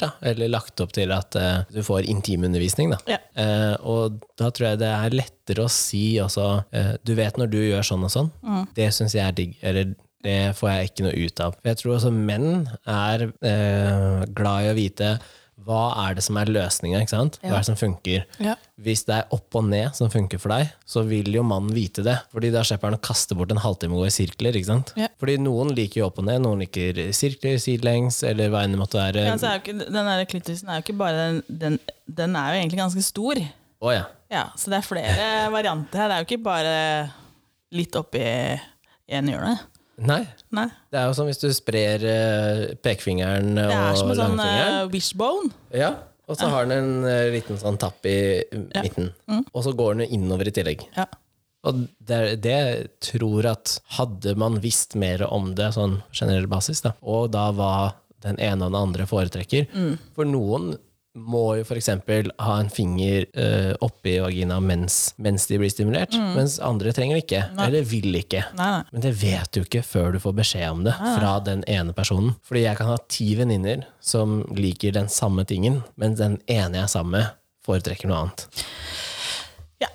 Speaker 1: da, eller lagt opp til at eh, du får intimundervisning, da.
Speaker 2: Ja.
Speaker 1: Eh, og da tror jeg det er lettere å si også eh, Du vet når du gjør sånn og sånn, det syns jeg er digg. Eller det får jeg ikke noe ut av. For jeg tror også menn er eh, glad i å vite Hva er det som er løsninga? ikke sant? Hva er det som funker?
Speaker 3: Ja.
Speaker 1: Hvis det er opp og ned som funker for deg, så vil jo mannen vite det. Fordi da slipper han å kaste bort en halvtime og gå i sirkler. ikke sant?
Speaker 3: Ja.
Speaker 1: Fordi noen liker jo opp og ned, noen liker sirkler, sidelengs, eller hva enn det måtte være.
Speaker 2: Ja, altså- så er jo ikke, den der klitorisen er jo ikke bare den, den, den er jo egentlig ganske stor.
Speaker 1: Å ja.
Speaker 2: Ja, så det er flere varianter her. Det er jo ikke bare litt oppi en hjørne.
Speaker 1: Nei.
Speaker 2: Nei.
Speaker 1: Det er jo som hvis du sprer eh, pekefingeren
Speaker 2: Det er som
Speaker 1: og
Speaker 2: en sånn
Speaker 1: langfingeren.
Speaker 2: eh, wishbone.
Speaker 1: Ja, og så har den en eh, liten sånn tapp i
Speaker 2: Ja. Mm.
Speaker 1: midten. Og så går den jo innover i tillegg.
Speaker 2: Ja.
Speaker 1: Og det, er- det tror at hadde man visst mer om det sånn generell basis, da, og da hva den ene og den andre foretrekker For noen må jo f.eks. ha en finger eh, oppi vagina mens, mens de blir stimulert, mens andre trenger det ikke, eller vil ikke.
Speaker 2: Nei, nei.
Speaker 1: Men det vet du ikke før du får beskjed om det
Speaker 2: Ah.
Speaker 1: fra den ene personen. Fordi jeg kan ha ti venninner som liker den samme tingen, men den ene jeg er sammen med, foretrekker noe annet.
Speaker 2: Ja.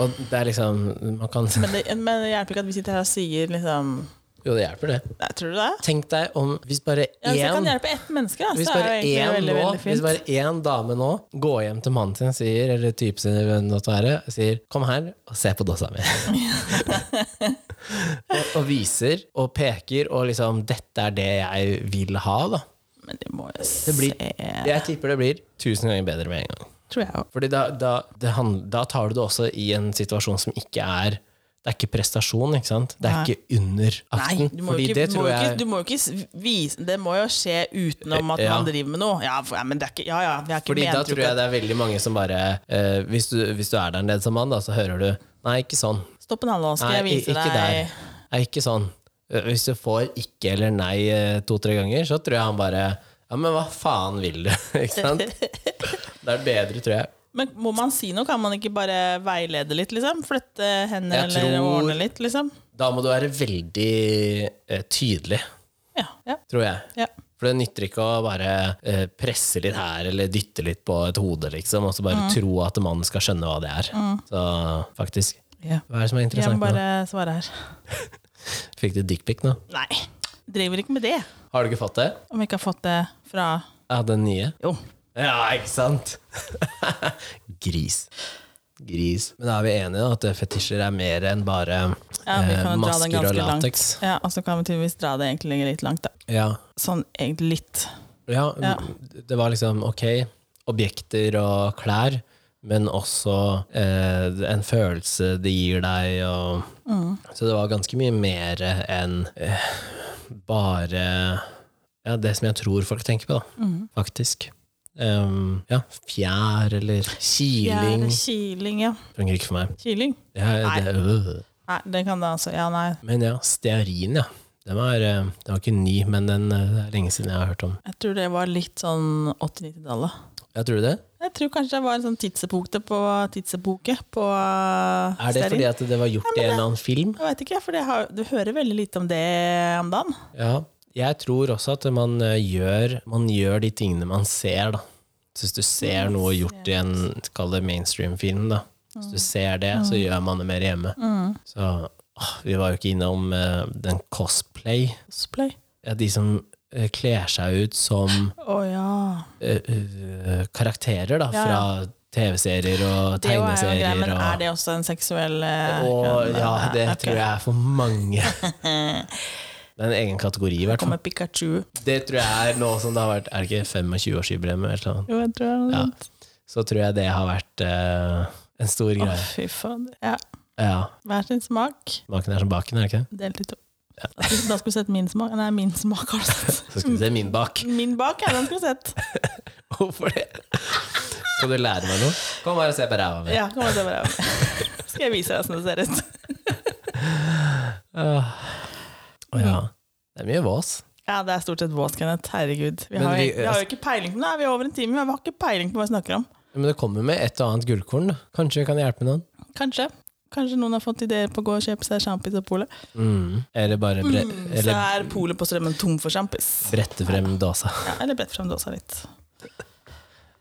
Speaker 1: Og det er liksom man kan,
Speaker 2: Men det, men det hjelper ikke at vi sitter her og sier liksom
Speaker 1: Jo, det hjelper, det.
Speaker 2: Nei, tror du det?
Speaker 1: Tenk deg om hvis bare
Speaker 2: Ja, hvis jeg
Speaker 1: én
Speaker 2: kan hjelpe ett menneske, da,
Speaker 1: hvis
Speaker 2: så Altså, er det
Speaker 1: bare,
Speaker 2: jo egentlig
Speaker 1: én
Speaker 2: veldig,
Speaker 1: nå,
Speaker 2: veldig
Speaker 1: hvis
Speaker 2: fint.
Speaker 1: bare én dame nå går hjem til mannen sin sier, eller typen sin, eller hvem det måtte være, sier 'kom her og se på dossa mi'. og, og viser og peker og liksom 'dette er det jeg vil ha', da.
Speaker 2: Men de må jo
Speaker 1: Det blir,
Speaker 2: se
Speaker 1: jeg tipper det blir tusen ganger bedre med en gang.
Speaker 2: Tror jeg òg.
Speaker 1: Fordi da, da, det hand, da tar du det også i en situasjon som ikke er Det er ikke prestasjon, ikke sant? Det er
Speaker 2: Nei.
Speaker 1: ikke under
Speaker 2: Nei,
Speaker 1: akten.
Speaker 2: du må, jo
Speaker 1: fordi
Speaker 2: ikke,
Speaker 1: det
Speaker 2: du, må
Speaker 1: tror
Speaker 2: jo ikke,
Speaker 1: jeg
Speaker 2: du må jo ikke s- vise Det må jo skje utenom at
Speaker 1: Ja.
Speaker 2: man driver med noe. Ja, for, ja, men det er ikke Ja, ja, vi har ikke
Speaker 1: Fordi
Speaker 2: ment
Speaker 1: da tror jeg det er veldig mange som bare eh, hvis, du, hvis du er der nede som mann, da, så hører du Nei, ikke sånn.
Speaker 2: Stopp en halvdagen, skal
Speaker 1: Nei,
Speaker 2: jeg
Speaker 1: i-
Speaker 2: vise
Speaker 1: ikke
Speaker 2: deg
Speaker 1: der. Nei, ikke sånn. Eh, Hvis du får ikke eller nei eh, to-tre ganger, så tror jeg han bare Ja, men hva faen vil du? ikke sant? Det er bedre, tror jeg.
Speaker 2: Men må man si noe? Kan man ikke bare veilede litt, liksom? Flytte hender
Speaker 1: Jeg
Speaker 2: eller
Speaker 1: tror-
Speaker 2: ordne litt, liksom?
Speaker 1: Da må du være veldig eh, tydelig,
Speaker 2: Ja. ja,
Speaker 1: tror jeg.
Speaker 2: ja.
Speaker 1: For det nytter ikke å bare eh, presse litt her eller dytte litt på et hode, liksom, og så bare
Speaker 2: Mm.
Speaker 1: tro at mannen skal skjønne hva det er. Så faktisk.
Speaker 2: ja.
Speaker 1: Hva er det som er
Speaker 2: Jeg
Speaker 1: interessant
Speaker 2: må Mm. bare svare her.
Speaker 1: nå? Fikk du dickpic nå?
Speaker 2: Nei. Driver ikke med det.
Speaker 1: Har du ikke fått det?
Speaker 2: Om jeg ikke har fått det fra
Speaker 1: Ja, den nye?
Speaker 2: Jo.
Speaker 1: Ja, ikke sant? Gris. Gris. Men da er vi enige da, at fetisjer er mer enn bare
Speaker 2: Ja, vi
Speaker 1: eh,
Speaker 2: kan jo dra den
Speaker 1: masker og
Speaker 2: ganske langt.
Speaker 1: lateks.
Speaker 2: Ja, og så kan vi tydeligvis dra det egentlig litt langt, da.
Speaker 1: Ja.
Speaker 2: Sånn egentlig litt.
Speaker 1: Ja,
Speaker 2: Ja.
Speaker 1: det var liksom ok, objekter og klær, men også eh, en følelse det gir deg. Og, Så det var ganske mye mer enn eh, bare ja, det som jeg tror folk tenker på, da, faktisk. Um, ja, fjær eller kiling.
Speaker 2: Fjerde Kiling, ja.
Speaker 1: Funker ikke for meg.
Speaker 2: Kiling.
Speaker 1: Ja, det, øh.
Speaker 2: Nei, det kan det altså. Ja, nei.
Speaker 1: Men ja, stearin, ja. Den var, eh, den var ikke ny, men den, eh, det er lenge siden jeg har hørt om.
Speaker 2: Jeg tror det var litt sånn 80-90-tallet.
Speaker 1: Ja, tror du det?
Speaker 2: Jeg tror kanskje det var en sånn tidsepoke på tidsepoke på
Speaker 1: Er det fordi at det var gjort i en eller annen film?
Speaker 2: Jeg vet ikke, for det har, du hører veldig lite om det om dagen.
Speaker 1: Ja. Jeg tror også at man eh, gjør, man gjør de tingene man ser, da. Så hvis du ser noe gjort i en kall det mainstream-film, da. Hvis
Speaker 2: Mm.
Speaker 1: du ser det, så gjør man det mer hjemme. Så åh, vi var jo ikke innom eh, den cosplay.
Speaker 2: Cosplay.
Speaker 1: Ja, de som eh, kler seg ut som
Speaker 2: Å ja.
Speaker 1: eh, eh, karakterer, da.
Speaker 2: Ja,
Speaker 1: Fra
Speaker 2: ja.
Speaker 1: TV-serier og
Speaker 2: Det er jo en greie,
Speaker 1: tegneserier
Speaker 2: men er
Speaker 1: og
Speaker 2: det også en seksuell eh,
Speaker 1: og ja, det
Speaker 2: ok.
Speaker 1: tror jeg er for mange. Det er en egen kategori, i hvert fall.
Speaker 2: Kommer Pikachu.
Speaker 1: Det tror jeg er nå som det har vært Er det ikke 25-årsjubileum? eller noe sånt?
Speaker 2: Jo, jeg tror det er noe
Speaker 1: Ja.
Speaker 2: sånt.
Speaker 1: Så tror jeg det har vært eh, en stor
Speaker 2: Å,
Speaker 1: greie.
Speaker 2: fy faen. Ja.
Speaker 1: Ja,
Speaker 2: Hver sin smak.
Speaker 1: Maken er som baken, er det ikke det?
Speaker 2: Delt i to. Da skulle- Da skulle du sett min smak. Nei, min smak har du sett.
Speaker 1: Så skal du se min bak.
Speaker 2: Min bak, ja. Den skulle du sett.
Speaker 1: Hvorfor det? Skal du lære meg noe? Kom her og se på ræva mi.
Speaker 2: Ja, kom og se på det. Skal jeg vise deg hvordan det ser ut.
Speaker 1: Å Ah. Ja. Det er mye vås.
Speaker 2: Ja, det er stort sett våt, Kenneth. Herregud. Vi
Speaker 1: Men
Speaker 2: har, jo-
Speaker 1: vi- altså-
Speaker 2: vi har jo ikke peiling på Nå er vi over en time, men vi har ikke peiling på hva vi snakker om.
Speaker 1: Men det kommer med et og annet gullkorn. da. Kanskje vi kan hjelpe noen?
Speaker 2: Kanskje. Kanskje noen har fått ideer på å gå og kjøpe seg sjampis på polet.
Speaker 1: Mm. Eller bare bre
Speaker 2: Så
Speaker 1: eller
Speaker 2: er polet på strømmen tom for sjampis.
Speaker 1: brette frem dåsa.
Speaker 2: Ja, eller brett fram dåsa litt.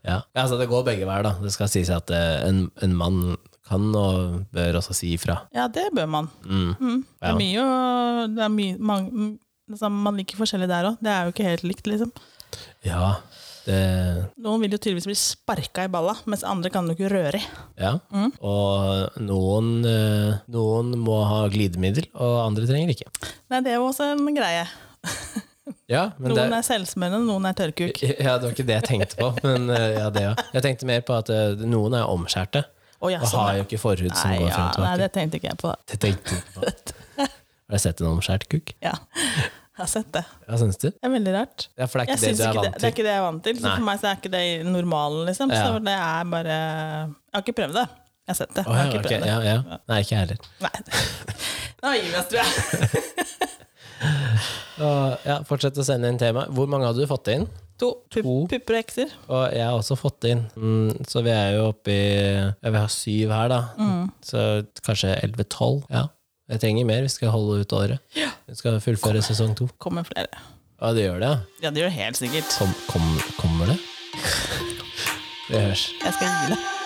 Speaker 1: Ja. Ja, altså, det går begge veier, da. Det skal sies at eh, en, en mann kan og bør også si ifra.
Speaker 2: Ja, det bør man.
Speaker 1: Mm.
Speaker 2: Mm. Det
Speaker 1: Ja.
Speaker 2: er mye å det er mye, mange, mm, altså, Man liker forskjellig der òg. Det er jo ikke helt likt, liksom.
Speaker 1: Ja. Det,
Speaker 2: Noen vil jo tydeligvis bli sparka i balla, mens andre kan du ikke røre i.
Speaker 1: ja.
Speaker 2: Mm.
Speaker 1: Og noen, eh, noen må ha glidemiddel, og andre trenger ikke.
Speaker 2: Nei, det er jo også en greie.
Speaker 1: Ja, men det,
Speaker 2: Noen er selvsmørende, noen er tørrkuk.
Speaker 1: ja, det var ikke det jeg tenkte på. Men eh, ja, det, ja. Jeg tenkte mer på at eh, noen er omskjærte
Speaker 2: Å, ja,
Speaker 1: og
Speaker 2: sånn,
Speaker 1: har
Speaker 2: ja.
Speaker 1: jo ikke forhud som
Speaker 2: Nei,
Speaker 1: går
Speaker 2: ja,
Speaker 1: frem og
Speaker 2: nei,
Speaker 1: tilbake.
Speaker 2: det tenkte ikke jeg på.
Speaker 1: Det tenkte jeg ikke på. Har du sett en omskjært kuk?
Speaker 2: Ja, jeg har sett det.
Speaker 1: Hva synes du?
Speaker 2: Det er veldig rart.
Speaker 1: Ja, for det er ikke
Speaker 2: Jeg
Speaker 1: det
Speaker 2: synes
Speaker 1: du
Speaker 2: ikke
Speaker 1: er
Speaker 2: det,
Speaker 1: vant
Speaker 2: det
Speaker 1: til.
Speaker 2: er ikke det jeg er vant til. Så
Speaker 1: Nei.
Speaker 2: for meg så er ikke det normalen, liksom.
Speaker 1: Ja.
Speaker 2: Så det er bare Jeg har ikke prøvd det. Jeg har sett det.
Speaker 1: Å,
Speaker 2: jeg
Speaker 1: ja,
Speaker 2: har ikke
Speaker 1: ok,
Speaker 2: prøvd det.
Speaker 1: ja, ja. Nei, ikke jeg heller.
Speaker 2: Nei. Nå gir vi oss, tror jeg.
Speaker 1: Og, ja, fortsett å sende inn tema. Hvor mange hadde du fått inn?
Speaker 2: To pu-
Speaker 1: To.
Speaker 2: pupper og ekser.
Speaker 1: Og jeg har også fått inn. Mm, så vi er jo oppe i ja, Vi har syv her, da. Så kanskje 11-12. Ja. Jeg trenger mer. Vi skal holde ut året. Vi skal fullføre sesong to.
Speaker 2: Kommer flere.
Speaker 1: Ja, det gjør det, ja.
Speaker 2: Ja, det gjør det helt sikkert.
Speaker 1: Kom, kom, kommer det? Vi høres.
Speaker 2: Jeg skal gi det.